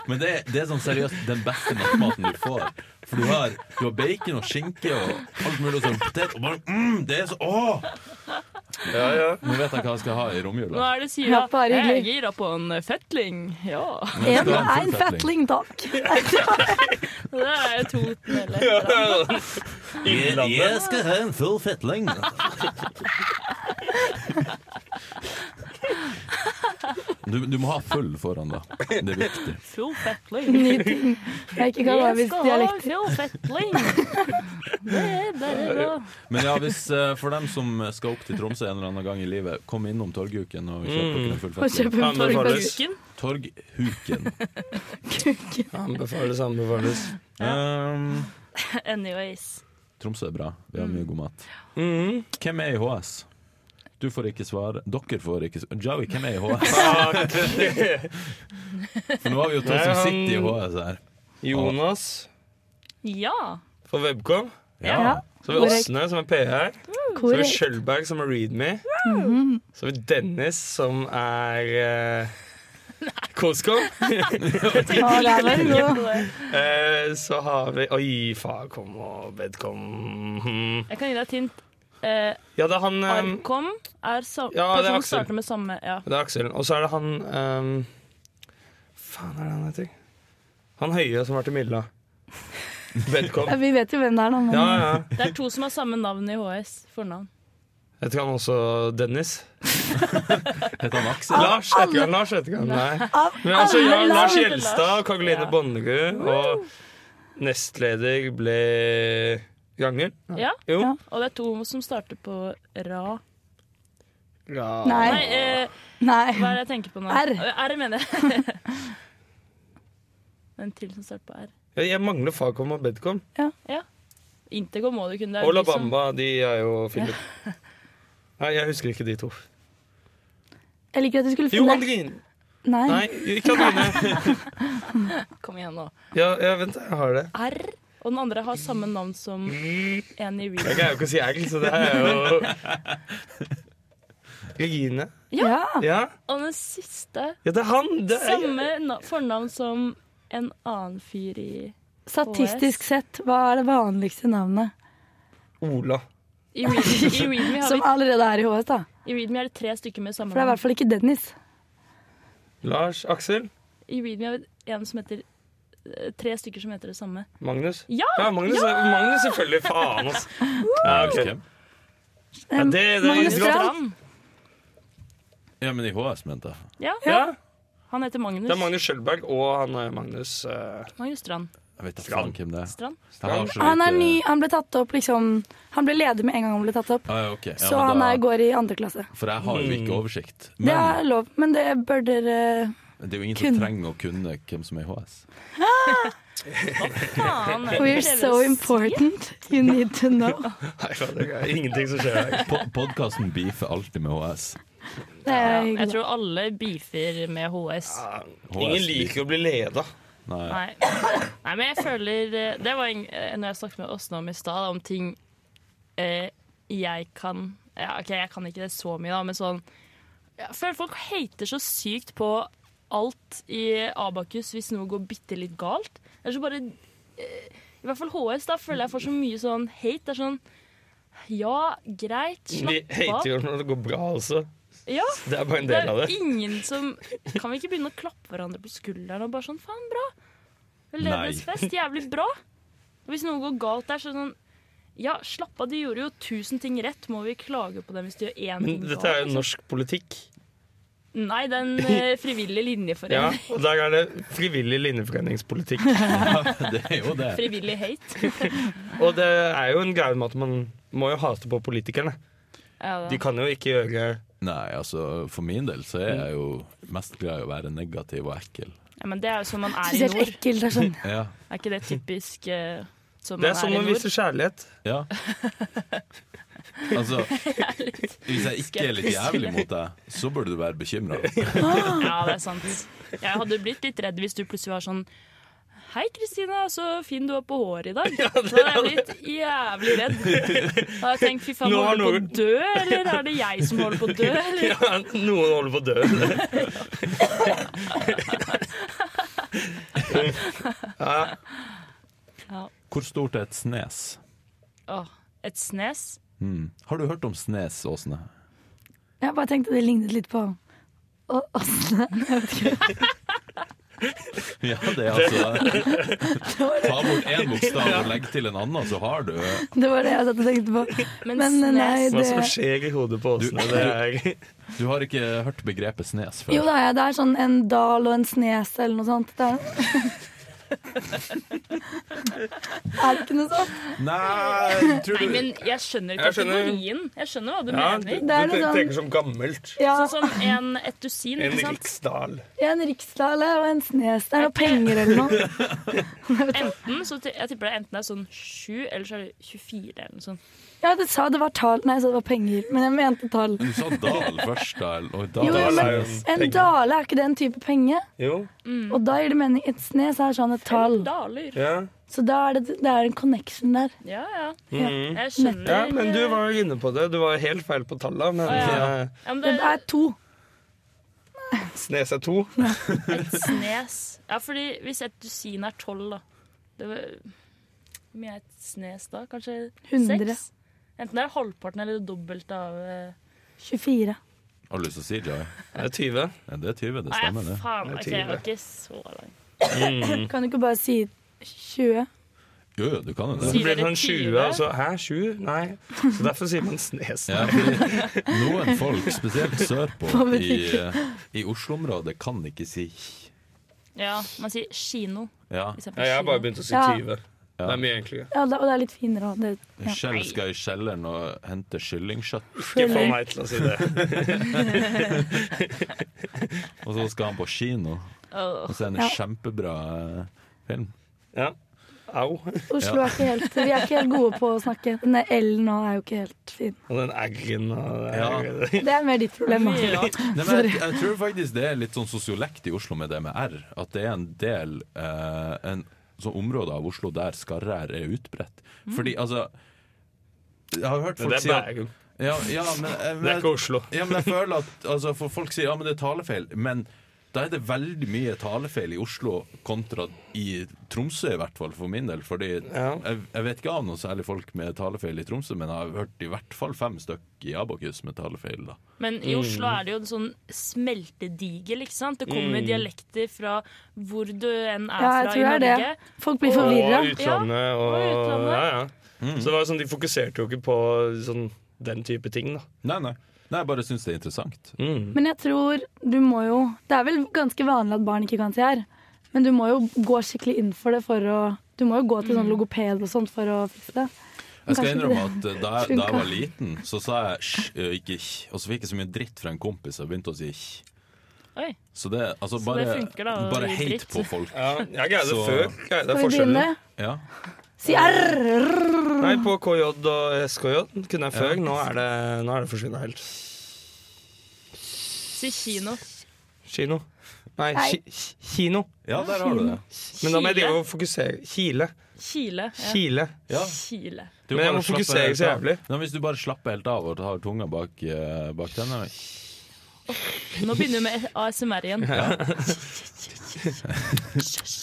men det er, det er sånn seriøst den beste nattmaten du får. For du har, du har bacon og skinke og alt mulig og sånn potet og bare mm, Det er så Åh!
Ja, ja.
Nå vet jeg hva jeg skal ha i
Nå
romjula.
er det Sira.
Ja, bare
jeg
hyggelig.
gira på en fettling. Ja.
Jeg
En
skal ha
er en
full
fatling, takk.
Det er jo Toten eller
Innlandet.
skal ha en full fettling. Du, du må ha full foran, da. Det er viktig.
Full fettling.
Ny ting. Jeg ikke kan
Jeg
arabisk
skal ha
dialekt.
full fettling. Det er bare bra.
Men ja, hvis, eh, for dem som skal opp til Tromsø en eller annen gang i livet, kom innom Torghuken og kjøp dere en full
Og Mm.
fettling.
kjøpe en torg på
Anbefales.
kuken.
Kuken.
Torghuken.
Anbefales, anbefales.
Um,
Anyways.
Tromsø er bra. Vi
Mm.
har mye god mat.
Mhm.
Hvem er i HS? Du får ikke svare. Dere får ikke svare. Joey, hvem er i HS?
Takk.
For nå har vi jo to
Nei,
som
han-
sitter i HS her.
Jonas
Ja.
fra Webcom.
Ja,
Så har vi Åsne, som er PR. Så har vi
korrekt.
Skjølberg, som er Mhm. Readme. Så har vi Dennis, som er eh, uh, Coscom.
Ja, der var du god.
Eh, så har vi Oi, Fagcom og Mhm. Bedcom.
Jeg kan gi deg et hint. Eh,
Ja, det er han eh,
Arkom er sam
ja, det er
personen
Aksel.
starter med samme ja.
Det er Aksel. Og så er det han ehm, Faen, er det han heter? Han høye som var til Milla. Bedcom.
Ja, Vi vet jo hvem det er, da.
Ja,
Men
ja.
Det er to som har samme navn i HS. Fornavn.
Jeg tror han også Dennis.
Heter han
Ah.
Aksel?
Lars heter han. Lars heter han. Nei.
av
Men altså, ja,
alle
Lars
land
Gjelstad, Karoline
Ja.
Bonnerud og nestleder ble Gangel.
Ja.
Jo.
Ja.
Og det er to som starter på ra.
Ja.
Nei.
Nei, eh, hva
Nei.
er det jeg tenker på nå?
R.
Eh, R mener jeg. En til som starter på R.
Ja, Jeg mangler Fagcom og Bedcom.
Intercom må du kunne. det er
Og
jo
La
de som-
Bamba, de er jo Philip. Nei, jeg husker ikke de to.
Jeg liker at du skulle
Jo,
finne
Andrine!
Nei.
Nei, ikke Andrine.
Kom igjen nå.
Ja, ja, vent, jeg har det.
R. Og den andre har samme navn som en i
Jeg
Real.
greier jo ikke å si egg, så det her er jo Regine.
Ja.
Ja.
Og den siste
ja, det er han! Det er...
samme na fornavn som en annen fyr i
Statistisk sett, hva er det vanligste navnet?
Ola.
I Readme, i Readme, har
Som allerede er i HS, da.
vi, i Readme er det tre stykker med samme
For det er i
navn.
hvert fall ikke Dennis.
Lars. Aksel.
I Readme er det en som heter eh, Tre stykker som heter det samme.
Magnus.
Ja!
Ja, Magnus, er- Magnus selvfølgelig. Faen, ass. Ja, ok.
Hvem?
Ja, det, det er
Magnus
ikke
Strand.
godt.
Strand.
Ja, men i HS, mente jeg.
Ja,
Ja,
han heter Magnus.
det er Magnus Schjølberg og han er Magnus eh,
Magnus Strand.
Jeg vet da faen hvem det er.
Strand.
Jeg har så eh,
Han er
lite-
ny. Han ble tatt opp liksom Han ble ledig med en gang han ble tatt opp.
Ah, ja, ok. ja,
Så
men
han
da-
er, går i andre klasse.
For jeg har jo ikke oversikt.
Det
Men
er lov, men det bør dere
det er jo ingen
kun-
som trenger å kunne hvem som er i HS.
Faen, er det
We're
dere
so
sier?
important. You need to know.
Nei, faen, det er ingenting som skjer her.
Po Podkasten beefer alltid med HS.
Det
Ja,
er
jeg
hyggelig.
tror alle beefer med HS.
Ja, Ingen liker å bli leda.
Nei.
Nei. Nei, men jeg føler eh, Det var en, eh, når jeg snakket med Åsne om i stad, om ting eh, jeg kan ja, OK, jeg kan ikke det så mye, da, men sånn Jeg føler folk hater så sykt på alt i Abakus hvis noe går bitte litt galt. Eller så bare eh, I hvert fall HS, da føler jeg får så mye sånn hate. Det er sånn Ja, greit,
De
slapp av.
hater jo når det går bra også.
Ja,
Det er bare en
det
del av
er
det.
ingen som Kan vi ikke begynne å klappe hverandre på skulderen og bare sånn Faen, bra! Veldedighetens fest. Jævlig bra. Og hvis noe går galt der, så er det sånn Ja, slapp av, du gjorde jo tusen ting rett. Må vi klage på dem hvis du gjør én
Men
ting
dette er jo
liksom?
norsk politikk.
Nei, den eh, frivillige linjeforeningen.
Ja, og der er det frivillig linjeforeningspolitikk.
Det er jo det.
Frivillig hate.
Og det er jo en greie med at man må jo hate på politikerne.
Ja, da.
De kan jo ikke gjøre
Nei, altså for min del så er jeg jo mest glad i å være negativ og ekkel.
Ja, men det er jo som man er i
Spesielt
nord.
ekkelt. Det er sånn
Ja.
Er ikke det typisk eh, som
Det
man
er sånn
er i
man
nord?
viser kjærlighet.
ja. Altså, hvis jeg ikke er litt jævlig mot deg, så burde du være bekymra.
Ja, det er sant. Jeg hadde blitt litt redd hvis du plutselig var sånn Hei, Kristina, så fin du var på håret i dag. da hadde jeg blitt jævlig redd. Da hadde jeg tenkt fy faen,
Nå har
holder du på å
noen-
dø, eller er det jeg som holder på å dø? Eller?
Ja, noen holder på å dø. Ja,
Hvor stort er et snes?
Åh, et snes?
Hmm. Har du hørt om snes, Åsne?
Jeg bare tenkte det lignet litt på Å, Åsne.
Ja, det er altså Ta bort én bokstav og legg til en annen, så har du
Det var det jeg satt og tenkte på.
Men,
Men
snes
nei,
hva
det
som skjer i hodet på Åsne,
Du-
det er
Du har ikke hørt begrepet snes før?
Jo da, ja, det er sånn en dal og en snes eller noe sånt. Det er, er det ikke noe sånt?
Nei, tror
Nei,
du
men jeg skjønner
Jeg skjønner-
kategorien. Jeg skjønner hva du
ja, Du
mener.
Det er
ten-
noe sånn-
tenker som gammelt.
Ja,
Sånn som en, et dusin,
En
ikke sant?
riksdal.
ja en riksdale og en snes. Det er noe penger eller noe.
Enten, så ti- jeg tipper det enten er sånn 7, eller så er det 24 eller noe sånt.
Ja, det sa det var tall. Nei, jeg sa det var penger, men jeg mente tall.
Du sa dal først, da. eller- Og dal
Jo, jo,
Dal
men
er jo
en
penger.
dale, er ikke det en type penge?
Jo,
Og da gir det mening. Et snes er sånn et tall.
Daler.
ja.
Så da er det, det er en connection der.
Ja, ja.
Mhm.
Jeg skjønner.
ja, men du var jo inne på det. Du var helt feil på tallene, men
ja.
eh,
Ja, men
Det er to.
Snes er to.
Et snes. Ja, fordi hvis et dusin er tolv, da det var, Hvor mye er et snes da? Kanskje
Hundre.
seks? Enten det er halvparten eller det dobbelte av eh,
24.
Har du lyst til å si det? ja?
Det er 20.
Ja, det er 20, det
Nei,
stemmer, det.
faen.
Det er
ok, jeg var
tidlig.
ikke så lang.
Kan du ikke bare si 20?
Jo, jo, du kan jo
Så
det.
Sier
blir det
dere
sånn 20,
20?
og så Hæ, 20? Nei. Så derfor sier man snes.
Ja, fordi noen folk, spesielt sørpå
På
i, eh,
butikken.
i Oslo-området, kan ikke si
Ja, man sier kino.
ja.
for eksempel
Ja, jeg har bare
kino.
begynt å si
Ja.
20. Det er mye enklere.
Ja, det, og det er litt finere òg. Ja.
Kjell skal i kjelleren og hente kyllingkjøtt,
Ikke få meg til å si det.
og så skal han på kino og
Åh,
se en
Ja.
kjempebra eh, film.
Ja. Au.
Oslo er ikke helt Vi er ikke helt gode på å snakke. Denne L-en nå er jo ikke helt fin.
Og den eggen og det
Ja.
er-
Det er mer ditt problem.
mye
da.
rart.
Nei, men jeg, jeg tror faktisk det er litt sånn sosiolekt i Oslo med det med R. At det er en del eh, en, sånn områder av Oslo der skarre-r er utbredt. Fordi altså Jeg har hørt
Men
folk
det er
si at
Bergen.
ja, ja, men, eh, men,
Det er ikke Oslo.
Ja, men jeg føler at altså, For folk sier ja, men det er talefeil. Men da er det veldig mye talefeil i Oslo kontra i Tromsø, i hvert fall for min del. Fordi
Ja.
jeg, jeg vet ikke av noen særlig folk med talefeil i Tromsø, men jeg har hørt i hvert fall fem stykk i Abakus med talefeil. da
Men
Mm.
i Oslo er det jo en sånn smeltedigel, ikke sant? Det
Mm.
kommer dialekter fra hvor du enn er
Ja, jeg
fra i
tror det
Norge.
er det. Folk blir
Og
forvirra.
utlandet og
og utlandet.
Ja, ja.
Mm.
Så det var sånn, de fokuserte jo ikke på sånn den type ting, da.
Nei, nei. Nei, jeg bare syns det er interessant.
Mm.
Men jeg tror du må jo Det er vel ganske vanlig at barn ikke kan si R, men du må jo gå skikkelig inn for det for å Du må jo gå til sånn logoped og sånt for å fikse det.
Jeg skal
Kanskje
innrømme at
det-
eh, da, jeg- da jeg
funka.
var liten, så sa jeg sj, eh, ikke kj, og så fikk jeg så mye dritt fra en kompis og begynte å si kj.
Oi.
Så det, altså,
Så
bare,
det funker da, å
bare
gi
hate
dritt.
på folk.
Ja, jeg greide det
Så-
før. Greide det
Skal vi
forskjellen.
begynne?
Ja.
Si R!
Nei, på KJ og SKJ kunne jeg før. Nå er det, nå er det forsvunnet helt.
Si kino.
Kino. Nei,
Nei.
ki- ki- kino.
ja, der har du det.
Men da må jeg
Kile.
drive og fokusere. Kile.
Kile. Ja.
Kile.
Ja.
Kile.
Du
Men jeg
bare
må
slapper
fokusere
helt
så
av.
jævlig.
Nei, hvis du bare slapper helt av og tar tunga bak, eh, bak tennene
Nå begynner vi med ASMR igjen.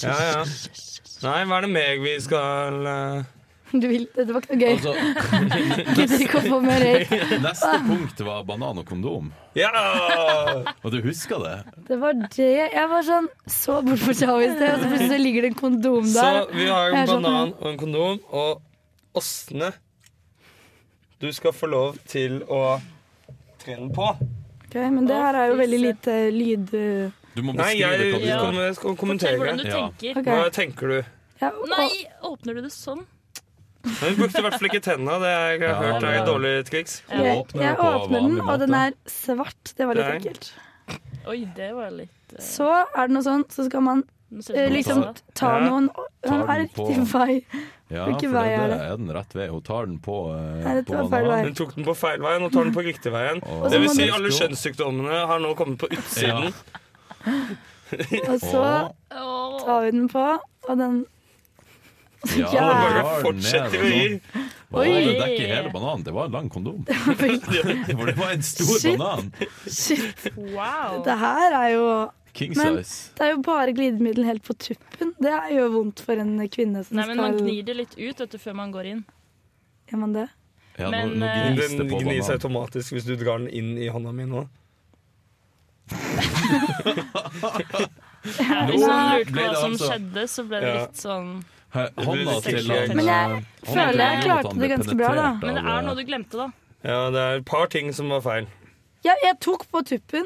Ja, ja. Nei, hva er det mer vi skal eh,
Du vil Dette var ikke noe gøy.
altså,
Gidder ikke å få mer røyk.
Neste punkt var banan og kondom.
Ja!
Og du husker det?
Det var det. Jeg var sånn så bort på Chau i sted, og så plutselig så ligger det en kondom
Så
der.
vi har
Jeg
en
er sånn-
banan og en kondom, og Åsne Du skal få lov til å tre den på.
Ok, Men det
Å,
her er jo
fy
veldig
søren.
lite lyd... øh,
Du må
Nei,
beskrive
jeg,
hva du
Ja.
gjør.
kom- jeg skal
Fortell
kommentere.
hvordan du
Ja.
tenker.
Ok.
Hva tenker du?
Ja, og-
Nei, åpner du det sånn?
Nei, Hun brukte i hvert fall ikke tennene. Det har jeg
Ja,
hørt er
det-
et dårlig triks.
Ja.
Jeg,
åpner
jeg
det på
åpner den,
vanlig
og den
måte.
er svart. Det var litt
Nei.
ekkelt.
Oi, det var litt eh,
Så er det noe sånn, så skal man
nå ser
eh,
det ut som
liksom
det.
ta
Ja.
noen Den er
den på.
riktig vei.
Ja,
Hvilken
for
vei er
det
det?
er den rett vei. Hun tar den på, eh,
Nei, dette
på
var feil
bananen.
Hun tok den på feil vei, nå tar den på riktig veien.
Og-
Det vil
Og så må
si
du-
alle kjønnssykdommene har nå kommet på utsiden.
Og så
Åh,
tar vi den på, og den
Ja,
Ja.
Og
den
bare
drar den ned,
fortsetter
og
å gi.
sånn. Oi!
Oi.
Det dekker hele bananen. Det var en lang kondom. For det var en stor
Shit.
banan.
Shit,
wow.
det her er jo
King
Men-
size.
Det er jo bare glidemiddel helt på tuppen. Det er jo vondt for en kvinne som
Nei, men man
skal
gnir det litt ut vet du, før man går inn.
Gjør man det?
Ja, nå,
Men,
nå
eh,
gnis det
Den
på
gnir seg
bananen.
automatisk hvis du drar den inn i hånda mi nå.
Hvis man
Nei.
lurte på
Ble det
hva som
altså-
skjedde, så ble det
Ja.
litt sånn
Hæ, Hånda
Det blir
til han
sexy.
Men jeg
eh, hånda til
føler jeg klarte
han
det
Jonathan ble
ganske bra, da.
penetrert
Men det
av, eh,
er noe du glemte, da.
Ja, det er et par ting som var feil.
Ja, jeg tok på tuppen.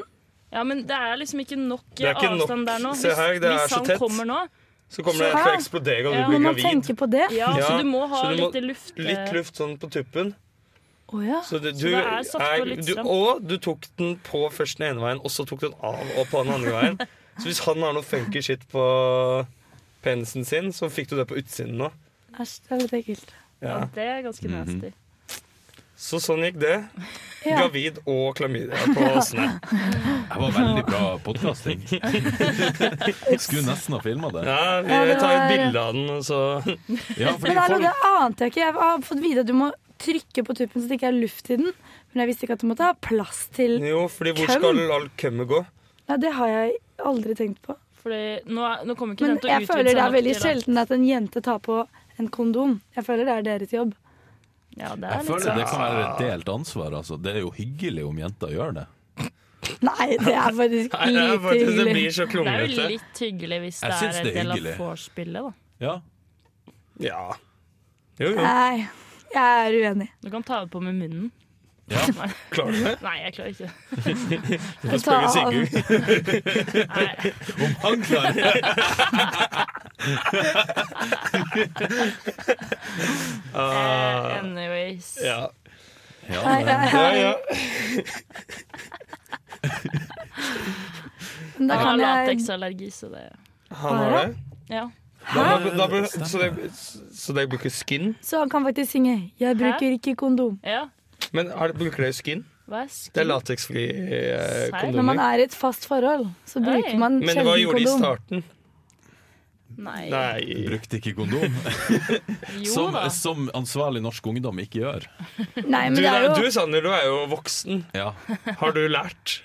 Ja, men det er liksom ikke nok
Det er ikke nok.
avstand der nå.
Se her, det er
hvis
så
han
tett.
kommer nå
Så kommer det en til å eksplodere, og
Ja.
du
Når
blir
man
gravid.
tenker på det
Ja,
Ja,
så du må ha
så du må-
litt luft. eh,
Litt luft sånn på tuppen.
Å ja.
Så det,
Så
du,
det er satt på litt
du,
stramt.
og du tok den på først den ene veien, og så tok du den av og på den andre veien. Så hvis han har noe funky shit på penisen sin, så fikk du det på utsiden nå.
Æsj, det er litt ekkelt.
Ja,
Ja. Mhm.
det er ganske nasty.
Så sånn gikk det.
Ja.
Gravid og klamydia på åsene.
Det var veldig bra podkasting. Skulle nesten ha filma det.
Ja, vi
Ja, det
tar et
var-
bilde av den, og så
Ja, fordi
Men hallo,
folk
det ante jeg ikke. Jeg har fått vite at du må trykke på tuppen så det ikke er luft i den. Men jeg visste ikke at du måtte ha plass til
Jo, fordi hvor
Køm.
skal all kømmet gå?
Ja, det har jeg aldri tenkt på.
Fordi nå, er- nå kommer ikke
Men
den til å
jeg
utvide
føler det
seg
er veldig
nok til, da.
sjelden at en jente tar på en kondom. Jeg føler det er deres jobb.
Ja, det
Jeg
er litt
føler det
sånn.
kan være et delt ansvar. Altså. Det er jo hyggelig om jenter gjør det.
Nei, det er faktisk
Nei, det, er
lite
faktisk, det
hyggelig.
blir så
Det er jo
klunglete.
litt hyggelig hvis
Jeg
det
syns
er
det
en
er
del av
hyggelig.
vorspielet, da.
Ja.
Ja. Jo, jo.
Nei, jeg er uenig.
Du kan ta det på med munnen.
Ja.
Klarer du det?
Nei, jeg klarer ikke det.
Jeg
Spør
tar-
Sigurd.
Nei.
Om han klarer det!
Eh, Anyways.
Ah. Ja.
Ja,
Nei,
det-
jeg-
Ja, ja.
men Da
Jeg har
kan jeg
lateksallergi, så det
Han har det.
Ja.
Da, da, da, bør- så, det så det bruker skin?
Så han kan faktisk synge 'Jeg bruker ikke kondom'.
ja.
Men har, bruker dere skin?
Hva er skin?
Det er lateksfri eh,
Serr?
Når man
kondomer.
er i et fast forhold, så bruker
Oi.
man
Men hva
sjelden
gjorde de i
kondom.
starten?
Nei.
Nei,
Brukte ikke kondom,
Jo
som,
da.
som ansvarlig norsk ungdom ikke gjør.
Nei, men
du,
det er
du
jo
Sander, du er jo voksen.
Ja.
Har du lært?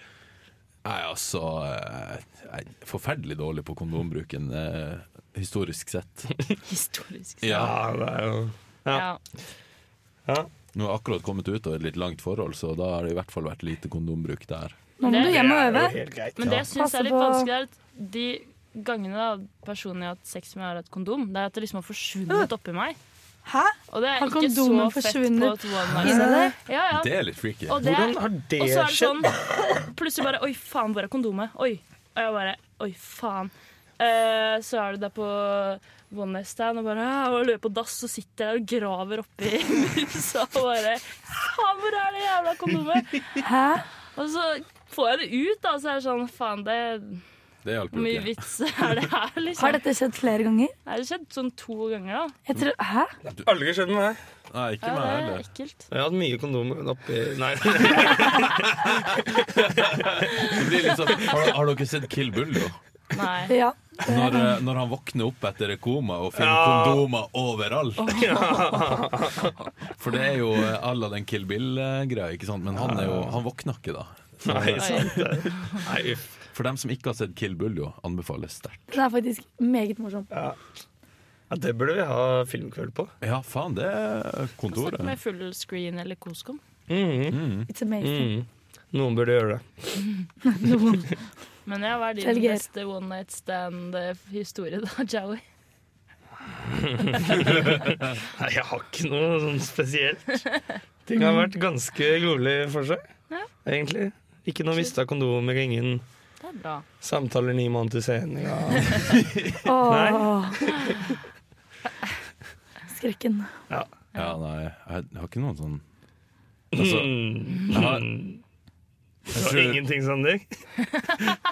Nei, altså eh, Jeg er forferdelig dårlig på kondombruken, eh, historisk sett.
Historisk.
Ja.
det er jo Ja.
Ja.
ja.
Nå har jeg akkurat kommet ut av et litt langt forhold, så da har det i hvert fall vært lite kondombruk der.
Nå må du hjem og
Det er
øve.
jo helt greit.
Men det jeg syns
Passe
er litt
på-
vanskelig, er at de gangene da personen jeg har hatt sex med, har hatt kondom, det er at det liksom har forsvunnet oppi meg.
Hæ?
Og det er
Har
ikke så
kondomen
fett på
forsvunnet
et one night
Inni
stand.
deg?
Ja, ja.
Det er litt freaky.
Og, det,
Hvordan har det
og så er det
skjedd?
sånn Plutselig bare Oi, faen, hvor er kondomet? Oi. Og jeg bare Oi, faen. Eh, så er du der på one night stand og bare «Ah», og løper på dass, og sitter der og graver oppi musa og bare Faen, hvor er det jævla kondomet?
Hæ?
Og så får jeg det ut, da, så er det sånn Faen, det
Det hjalp
Hvor
jo
mye
ikke.
vits er det her, liksom?
Har dette skjedd flere ganger?
Nei, Det har skjedd sånn to ganger, da.
Jeg tror, hæ?
Aldri skjedd med meg.
Nei, ikke
Ja,
meg
det er
heller.
ekkelt.
Jeg har hatt mye kondomer oppi Nei.
Det blir litt sånn, har, har dere sett Kill Bull, jo?
Nei.
Ja.
Når, eh, når han våkner opp etter et koma og finner
Ja.
kondomer overalt. For det er jo eh, alle den Kill Bill-greia, ikke sant? Men han, er jo, han våkner ikke da.
Nei,
Oi.
sant det. Nei, uff.
For dem som ikke har sett Kill Bull, jo, anbefales sterkt.
Den er faktisk meget morsom.
Ja, det burde vi ha filmkveld på.
Ja, faen, det er
Snakk
kontoret.
med full screen eller Koskom.
It's amazing.
Mm. Noen burde gjøre det.
Noen.
Men ja, hva er din
Selger.
beste one night stand-historie, da, Jowie?
Nei, jeg har ikke noe sånn spesielt. Ting har vært ganske rolig for seg, egentlig. Ikke noe mista kondomer, ingen
Det er bra.
samtaler ni måneder senere.
Åh. Skrekken.
Ja, nei, jeg, jeg har ikke noen sånn Altså, jeg har jeg,
Og
tror, jeg,
Mm. ingenting, sånn, Sander.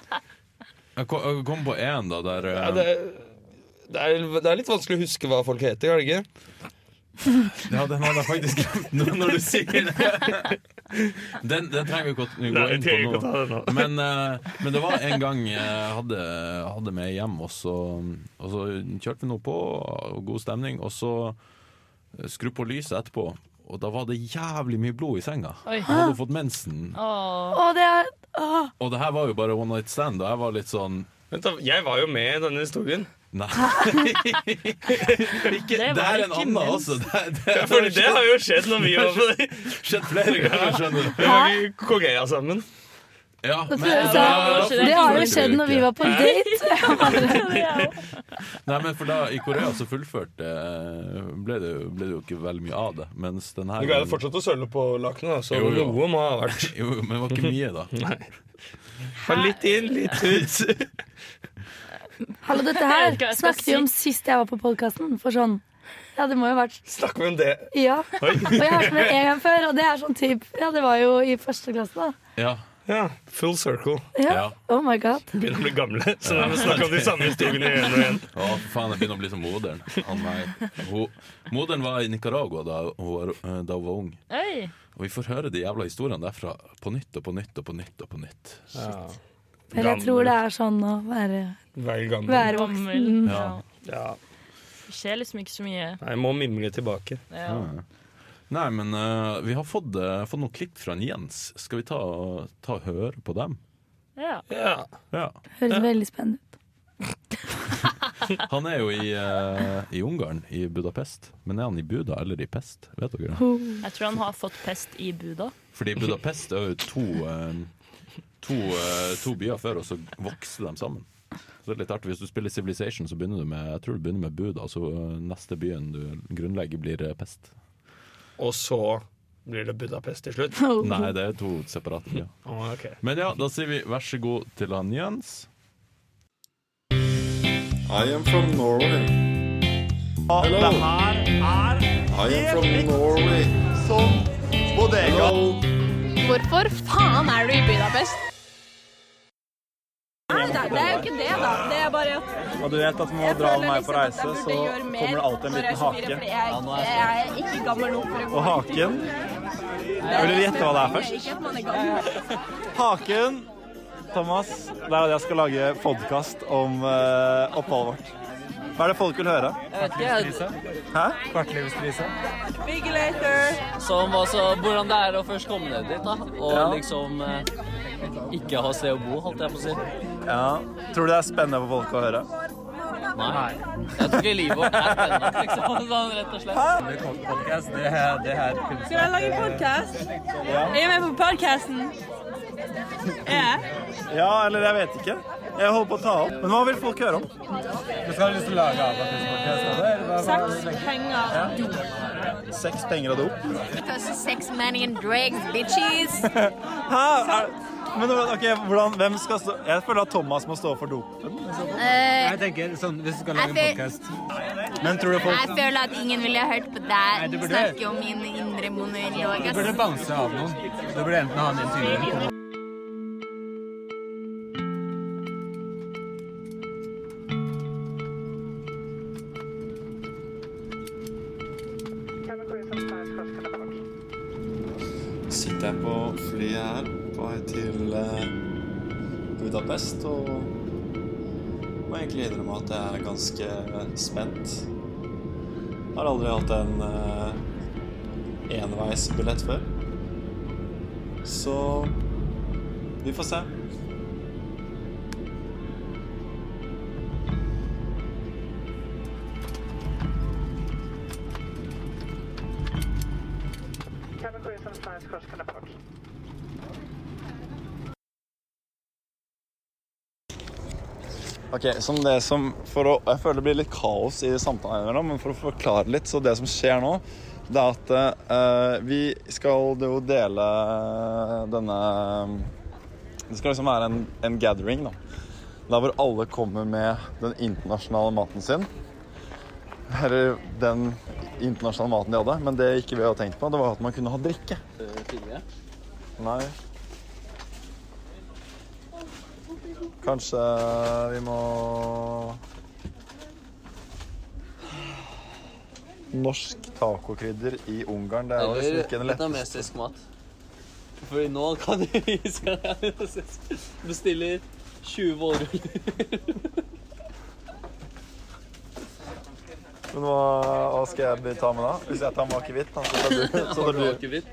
kom, jeg kom på én, da, der eh,
Ja, det, det, er, det er litt vanskelig å huske hva folk heter, er det ikke?
Ja, den hadde jeg faktisk glemt nå når du sier det. Den, den trenger vi ikke å gå
Nei,
inn
trenger ikke
på
å
nå.
ta det nå.
Men, eh, men det var en gang jeg hadde, hadde med hjem, og så, og så kjørte vi noe på, og god stemning, og så skru på lyset etterpå. Og da var det jævlig mye blod i senga.
Oi.
Jeg hadde fått mensen.
Åh.
Å, det er åh.
Og det her var jo bare one night stand, og jeg var litt sånn
Vent da, Jeg var jo med i denne historien.
Nei.
Det
Det,
var
er en
ikke
annen,
mens.
altså. Det, det,
Ja, for det har jo skjedd når vi var på det.
skjedd flere ganger, skjønner du.
Vi var i Korea sammen.
Ja, men,
Så-
det har jo skjedd.
Det har jo skjedd når vi var på date.
Nei, men for da I Korea så fullførte eh, ble det, jo- ble det jo ikke veldig mye av det. Mens den her
Du greide fortsatt å søle på lakenet, da, så
Jo, jo.
noe må ha vært.
Jo, jo, men det var ikke mye, da.
Ha litt inn, litt ut.
Hallo, dette
Jeg
her
vet ikke hva jeg skal
snakket vi om sist jeg var på podkasten. For sånn Ja, det må jo ha vært
Snakker vi om det?
Ja. Og jeg har hørt med det en gang før, og det er sånn typ Ja, det var jo i første klasse, da.
Ja,
Ja, Full circle.
Ja.
ja.
Oh my god.
Begynner å bli gamle, så da må vi snakke om de samme historiene igjen og igjen.
Å, for faen, jeg begynner å bli som moderen. Å, nei. Hun- Moderen var i Nicaragua da hun, var, eh, da hun var ung.
Oi.
Og vi får høre de jævla historiene derfra på nytt og på nytt og på nytt. og på nytt
Men jeg tror det er sånn å være,
Vær gammel.
være
Gammel.
voksen.
Ja.
Ja.
Ja.
Det skjer liksom ikke så mye.
Nei, jeg må mimre tilbake.
Ja.
Nei, men eh, vi har fått, eh, fått noen klipp fra en Jens. Skal vi ta, ta og høre på dem?
Ja.
Ja.
Ja.
Høres veldig spennende ut.
Han er jo i, eh, i Ungarn, i Budapest. Men er han i Buda eller i Pest? Vet dere det?
Jeg tror han har fått pest i Buda.
Fordi Budapest er jo to, eh, to, eh, to byer før, og så vokser de sammen. Så det er litt artig, Hvis du spiller Civilization, så begynner du med jeg tror du begynner med Buda, og så eh, neste byen du grunnlegger, blir eh, Pest.
Og så blir det Budapest til slutt.
Nei, det er to separate byer.
Å, ok.
Men ja, da sier vi vær så god til han Jens.
I am from Norway. Hello. I am from Norway. Hello.
Hvorfor faen er du i Budapest? Nei, det er jo ikke det, da. Det er bare at
Og du vet at når
jeg
man drar
føler
med meg på
liksom at
reise,
jeg
så
burde gjøre mer
kommer det alltid en
når jeg
liten
er 24,
hake.
for Jeg, jeg er ikke gammel nok for å gå
Og haken Vil du gjette hva det er først?
Ikke at man er gammel.
Haken, Thomas, det er at jeg skal lage podkast om eh, oppholdet vårt. Hva er det folk vil høre? Hæ?
Big later.
Som altså hvordan det er å først komme ned dit, da. Og
Ja.
liksom eh, ikke ha sted å bo, holdt jeg på å si.
Ja. Tror du det er spennende for folk å høre?
Nei. Jeg tror ikke livet vårt er spennende, liksom. Sånn rett og slett.
Skal jeg lage podkast? Er jeg med på podkasten? Ja.
Ja, eller jeg vet ikke. Jeg holder på å ta opp. Men hva vil folk høre om?
Sex, penger
Sex, penger og dop?
Sex, money and drugs, bitches.
Hæ? Er, men ok, hvordan, hvem skal stå Jeg føler at Thomas må stå for dopen.
Jeg tenker sånn, Hvis du skal lage
Jeg
en podkast
Men tror du folk
Jeg føler at ingen ville hørt på
Nei,
deg
du burde-
snakke om min indre monolog.
Du burde bounce av noen. Du burde enten ha en intervjuer
Sitter jeg på flyet her på vei til eh, Budapest og må egentlig innrømme at jeg er ganske eh, spent. Har aldri hatt en eh, enveisbillett før. Så vi får se.
Ok, som det som for å, Jeg føler det blir litt kaos i samtalen her nå, men for å forklare litt, så det som skjer nå, det er at eh, vi skal jo dele denne eh, Det skal liksom være en, en gathering, da. Der hvor alle kommer med den internasjonale maten sin. Eller den internasjonale maten de hadde. Men det ikke vi hadde tenkt på, det var at man kunne ha drikke. Nei. Kanskje vi må Norsk tacokrydder i Ungarn, det er jo liksom ikke
Eller
den letteste.
vietnamesisk mat. Fordi nå kan du vise Bestiller 20 vårruller.
Men hva, hva skal jeg bli- ta med da? Hvis jeg tar med akevitt, da, så tar du så tar du-
Akevitt.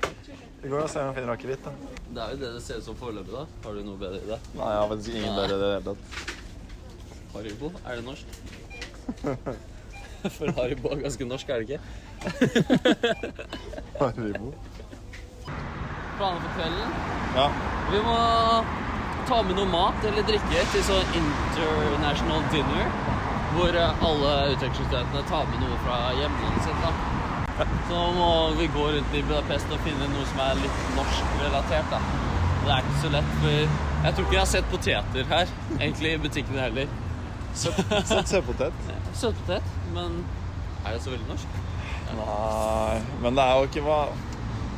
Vi går og ser om jeg finner akevitt. da.
Det er jo det det ser ut som foreløpig, da. Har du noe bedre i det?
Nei, jeg har faktisk ingen
Nei.
bedre i det hele tatt.
Haribo, er det norsk? For Haribo er ganske norsk, er det ikke?
Haribo.
Planer for kvelden?
Ja.
Vi må ta med noe mat eller drikke til sånn international dinner. Hvor eh, alle utvekslingsstudentene tar med noe fra hjemlandet sitt. da. Så må vi gå rundt i Budapest og finne noe som er litt norskrelatert. da. Det er ikke så lett, for jeg tror ikke jeg har sett poteter her. Egentlig i butikkene heller.
Søtpotet?
Søtpotet, men er det så veldig norsk?
Nei, men det er jo ikke hva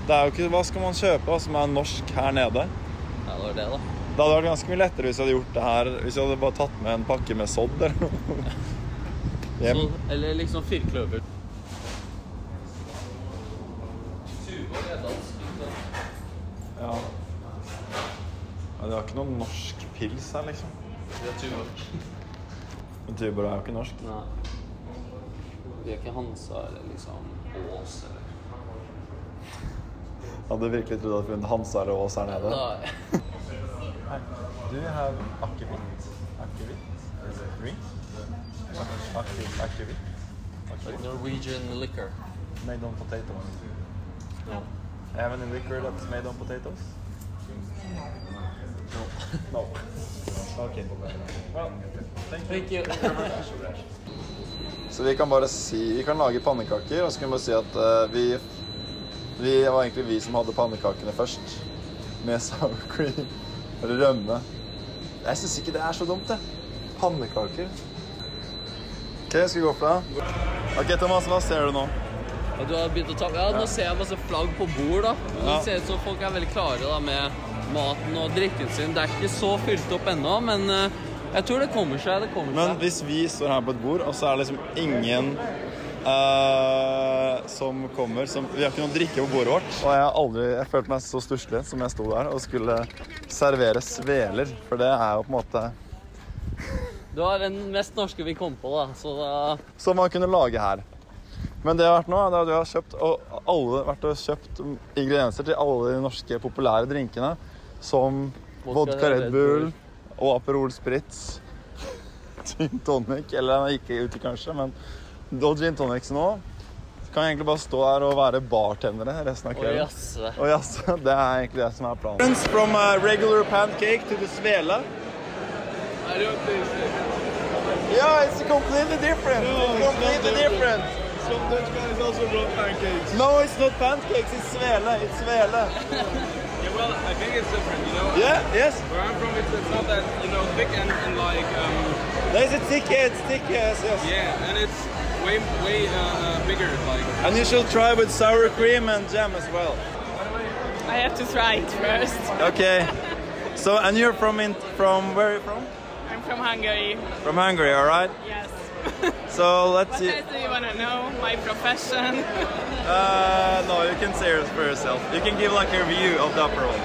Det er jo ikke hva skal man kjøpe da, som er norsk her nede.
Ja, det var det, da.
Det hadde vært ganske mye lettere hvis jeg hadde gjort det her Hvis jeg hadde bare tatt med en pakke med sodd eller noe. Hjem.
Så, eller liksom firkløver.
Ja. ja. Det er ikke noen norsk pils her, liksom. Men Tuborg er jo ikke norsk.
Nei. Vi er ikke Hansa eller liksom Ås eller
Jeg hadde virkelig trodd at funnet Hansa eller Ås her nede.
Nei.
Hei. Do you have akevitt? Akevitt? Drink? Akevitt? Akevitt?
Like Norwegian liquor.
Made on potatoes.
No.
I have any liquor that's made on potatoes? No. No. Okay. Well, thank you.
Thank you.
Så vi kan bare si Vi kan lage pannekaker, og så kan vi bare si at eh, vi Vi det var egentlig vi som hadde pannekakene først. Med sour cream. Eller rømme. Jeg syns ikke det er så dumt, det. Pannekaker. OK, skal vi gå for det? OK, Thomas, hva ser du nå?
Og du har begynt å ta Ja, nå ser jeg masse flagg på bord, da. Og Det
Ja.
ser ut som folk er veldig klare da med maten og drikken sin. Det er ikke så fylt opp ennå, men eh, jeg tror det kommer seg. Det kommer
Men
seg.
hvis vi står her på et bord, og så er det liksom ingen eh, som kommer som, Vi har ikke noe drikke på bordet vårt. Og jeg har aldri jeg følte meg så stusslig som jeg sto der og skulle servere sveler. For det er jo på en måte
Du har den mest norske vi kom på, da. Så da
Som man kunne lage her. Men det jeg har vært nå, det er at jeg har kjøpt, og alle, vært og kjøpt ingredienser til alle de norske populære drinkene. Som vodka Red Bull og Aperol Spritz. Gin tonic, eller den gikk ikke ut i kanskje, men og gin tonics nå. Så kan jeg egentlig bare stå her og være bartendere resten av
Å,
kvelden.
jaså.
Og jaså, det er egentlig det som er planen. From uh, regular pancake to the svele. Yeah, it's completely different. it's completely different. No, it's not pancakes, it's svele. It's svele.
Well, I think it's different, you know.
Yeah, yes.
Where I'm from, it's, it's not that, you know, thick and, and like, um,
There's a ticket, tickets, yes.
yeah, and it's way, way uh, uh, bigger, like.
And you should try with sour cream and jam as well.
I have to try it first.
Okay. So, and you're from in, from where are you from?
I'm from Hungary.
From Hungary, all right?
Yes.
So let's
What
see.
else do you want to know? My profession.
Uh, no, you can say it for yourself. You can give like a review of the Aperol.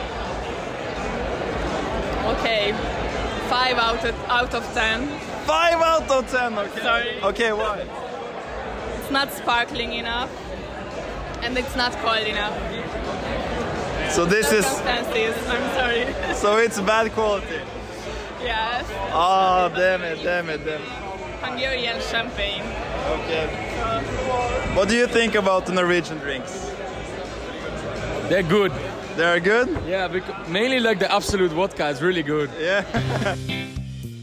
Okay. Five out of, out of ten.
Five out of ten. Okay.
Sorry.
Okay, why?
It's not sparkling enough, and it's not cold enough.
So this is
Circumstances. I'm sorry.
so it's bad quality.
yes.
Ah, damn it, damn it, damn it.
Hungarian champagne.
Okay. What do you think about the Norwegian drinks?
They're good.
They are good.
Yeah, because mainly like the absolute vodka is really good.
Yeah.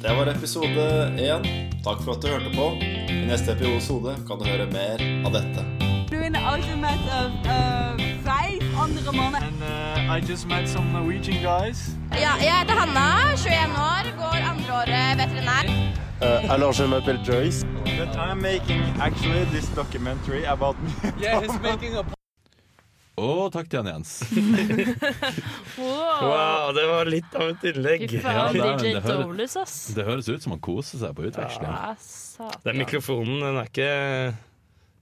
Det var episode én. Takk for at du hørte på. I neste episode kan du høre mer av dette.
Doing the ultimate of uh, fries andre måned.
And uh, I just met some Norwegian guys.
Ja, jeg heter Hanna, 21 år, går andreåret veterinær.
Uh, I love m'appelle Joyce. But I'm making actually this documentary about me.
Yeah, he's making a
Og takk til han Jens.
Wow.
Wow, det var litt av et innlegg.
Fy
Ja,
faen,
det er-
DJ
det hører-
Dolus, ass.
Det høres ut som han koser seg på utvekslinga.
Ja, satan.
Den mikrofonen, den er ikke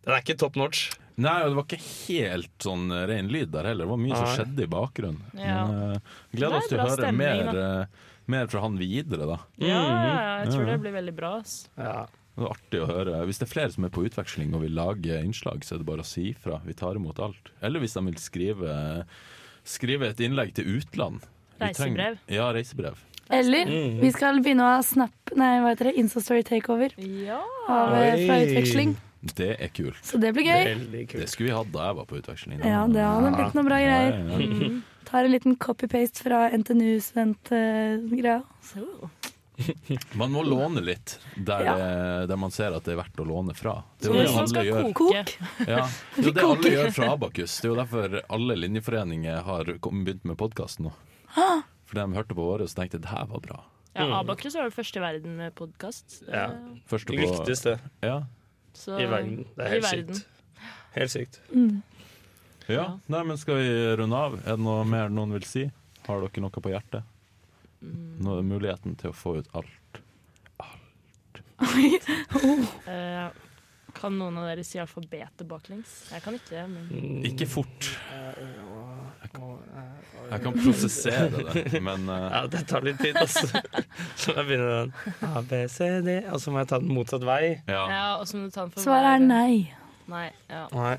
Den er ikke top notch.
Nei, og det var ikke helt sånn eh, ren lyd der heller. Det var mye som
Nei.
skjedde i bakgrunnen.
Ja.
Men, eh, gleder oss
Det
til
er
å
bra
høre
stemning,
mer, eh, mer fra han videre, da.
Ja, jeg
Mhm. Ja,
tror
ja.
det blir veldig bra, ass.
Ja.
Det var artig å høre. Hvis det er flere som er på utveksling og vil lage innslag, så er det bare å si fra. Vi tar imot alt. Eller hvis de vil skrive, skrive et innlegg til utland. Vi trenger-
Reisebrev.
Ja, reisebrev.
Eller
Mhm.
vi skal begynne å ha snap, nei, hva heter det, Instastory takeover
Ja.
av, eh, fra
Oi.
utveksling.
Det er kult.
Så det blir gøy.
Veldig kult.
Det skulle vi hatt da jeg var på utveksling. Da-
Ja, det hadde blitt noen bra greier.
Ja, ja, ja.
Tar en liten copy-paste fra NTNU-studentgreia.
Så.
Man må låne litt der,
Ja.
det- der man ser at det er verdt å låne fra. Det er jo
Så hvis
det
man
alle
skal
gjør.
koke
Ja, det er jo det alle gjør fra Abakus. Det er jo derfor alle linjeforeninger har kom- begynt med podkast nå. For de hørte på våre og tenkte det her var bra.
Ja, Abakus var vel først i verden med podkast.
Ja.
Første
Det
på,
viktigste
Ja.
Så-
i verden. Det er
I
helt
verden.
sykt. Helt sykt.
ja. Nei, men skal vi runde av? Er det noe mer noen vil si? Har dere noe på hjertet? Nå er muligheten til å få ut alt.
Eh, kan noen av dere si alfabetet baklengs? Jeg kan ikke det, men
Ikke fort. Jeg kan prosessere det, men eh,
Ja, det tar litt tid, altså. Så må jeg begynne den. A, B, C, D. Og så må jeg ta den motsatt vei.
ja.
ja, og så må du ta den for
Svaret er
hver-
nei.
Nei, ja.
Nei.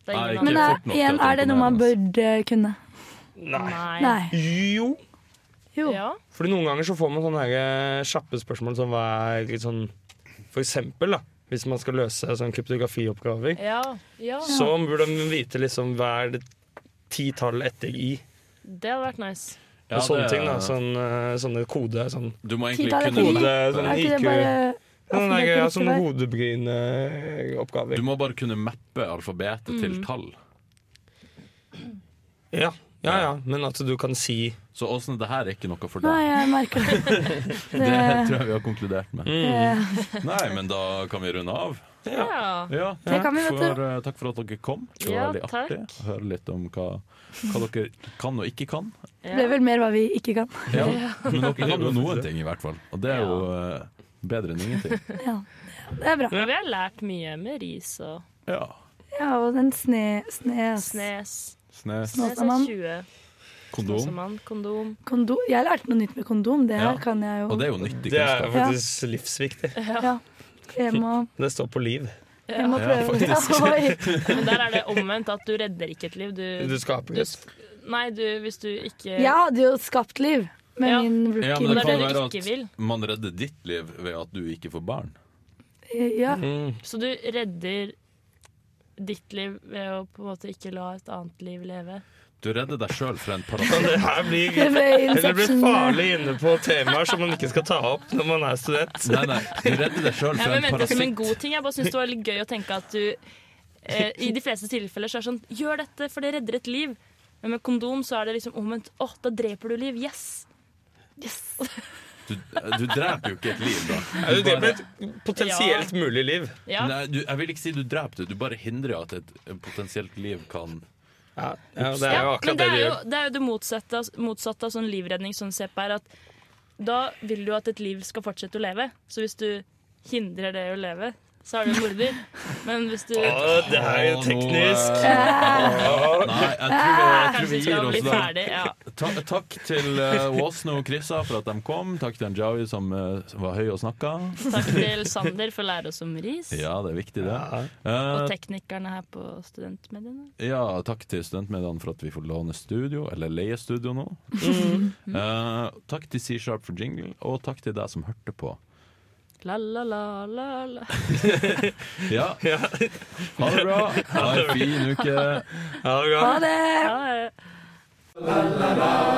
Det er
Nei,
ingen
ikke
Men
andre.
eh,
fort nok til
igjen,
at
er det
den
noe man
kommer
burde kunne?
Nei.
Nei.
Nei.
Jo.
Jo.
Ja.
Fordi noen ganger så får man sånne her kjappe spørsmål som hva er litt sånn For eksempel, da, hvis man skal løse sånn kryptografioppgaver,
Ja. ja.
så burde man vite liksom hva er det ti tall etter i.
Det hadde vært nice.
Og
Ja,
sånne
det-
ting, da. Sånn, eh, sånne kode. Sånn
Du må egentlig
Tidligere
kunne
fordi-
kode,
Er
sånn
ikke det
IQ
bare
Sånn der, ja,
alfabetet riktig vei?
sånn
Du
eh, hodebryneoppgaver.
må bare kunne mappe alfabetet til tall.
Ja. ja, ja. Men at du kan si
Så Åsne, det her er ikke noe for deg.
Nei, jeg merker det.
Det
Det,
tror jeg vi har konkludert med.
det,
Nei, men da kan vi runde av.
Ja.
Ja,
det kan vi, vet
for,
du.
eh, takk for at dere kom. Det var
Ja,
veldig
takk.
artig å høre litt om hva, hva dere kan og ikke kan.
Det ble vel mer hva vi ikke kan.
Ja. Men dere kan jo noen ting, i hvert fall. Og det er jo eh, bedre enn ingenting.
Det er bra.
Men vi har lært mye med ris og
Ja.
Ja, og den sne... Snes...
snes.
Snes,
Nå
Snes
som
er
man-
20. Nå som
kondom.
man, Kondom.
Kondom. Jeg lærte noe nytt med kondom. Det her
Ja.
kan jeg jo.
Og det er jo nyttig
Det er
kunnskap.
faktisk livsviktig.
Ja. Jeg må,
Det står på liv.
jeg må
Ja,
prøve det. Oi.
Men der er det omvendt at du redder ikke et liv. Du,
Du skaper
du
det.
sk- Nei, du, hvis du ikke
Jeg hadde jo skapt liv med
Ja.
min
Ja, men det
rookie.
det er
kan
det
være
du ikke vil.
at man redder ditt liv ved at du ikke får barn.
Ja,
Mm.
Så du redder ditt liv ved å på en måte ikke la et annet liv leve?
Du redder deg sjøl fra en parasitt.
Men det her blir
det ble
Eller blir
Inception.
farlig inne på temaer som man ikke skal ta opp når man er student.
Nei, nei, du redder deg sjøl
Jeg
fra
men
en
mente det som en
parasitt.
god ting. Jeg bare syns det var litt gøy å tenke at du eh, I de fleste tilfeller så er det sånn Gjør dette, for det redder et liv. Men med kondom så er det liksom omvendt. Å, da dreper du liv. Yes!
Du, du dreper jo ikke et liv, da.
Du dreper et potensielt mulig liv.
Ja.
Nei, du, jeg vil ikke si du dreper det, du bare hindrer at et potensielt liv kan
Ja, ja, det er jo
Ja, men
akkurat det
det
du
er jo
gjør.
det, er jo det motsatte, motsatte av sånn livredning sånn CPR. At da vil du at et liv skal fortsette å leve. Så hvis du hindrer det å leve, så er du en morder. Men hvis du
Å, eh, det er jo teknisk.
Åh, eh, Nei, jeg tror, vi- jeg tror
kanskje
vi gir
skal bli
oss der.
ferdig ja.
Ta, takk til eh, Åsne og Krissa for at de kom. Takk til Njawi som eh, var høy og snakka.
Takk til Sander for å lære oss om ris.
Ja, det er viktig, det.
Og
Eh,
teknikerne her på studentmediene.
ja, takk til studentmediene for at vi får låne studio, eller leie studio nå.
Mm.
Eh, takk til C-Sharp for jingle, og takk til deg som hørte på.
La, la, la, la, la.
Ja. Ha det bra. Ha en fin uke.
Ja,
Ah, eh.
det er bra.
Ha det!
Ja, ja.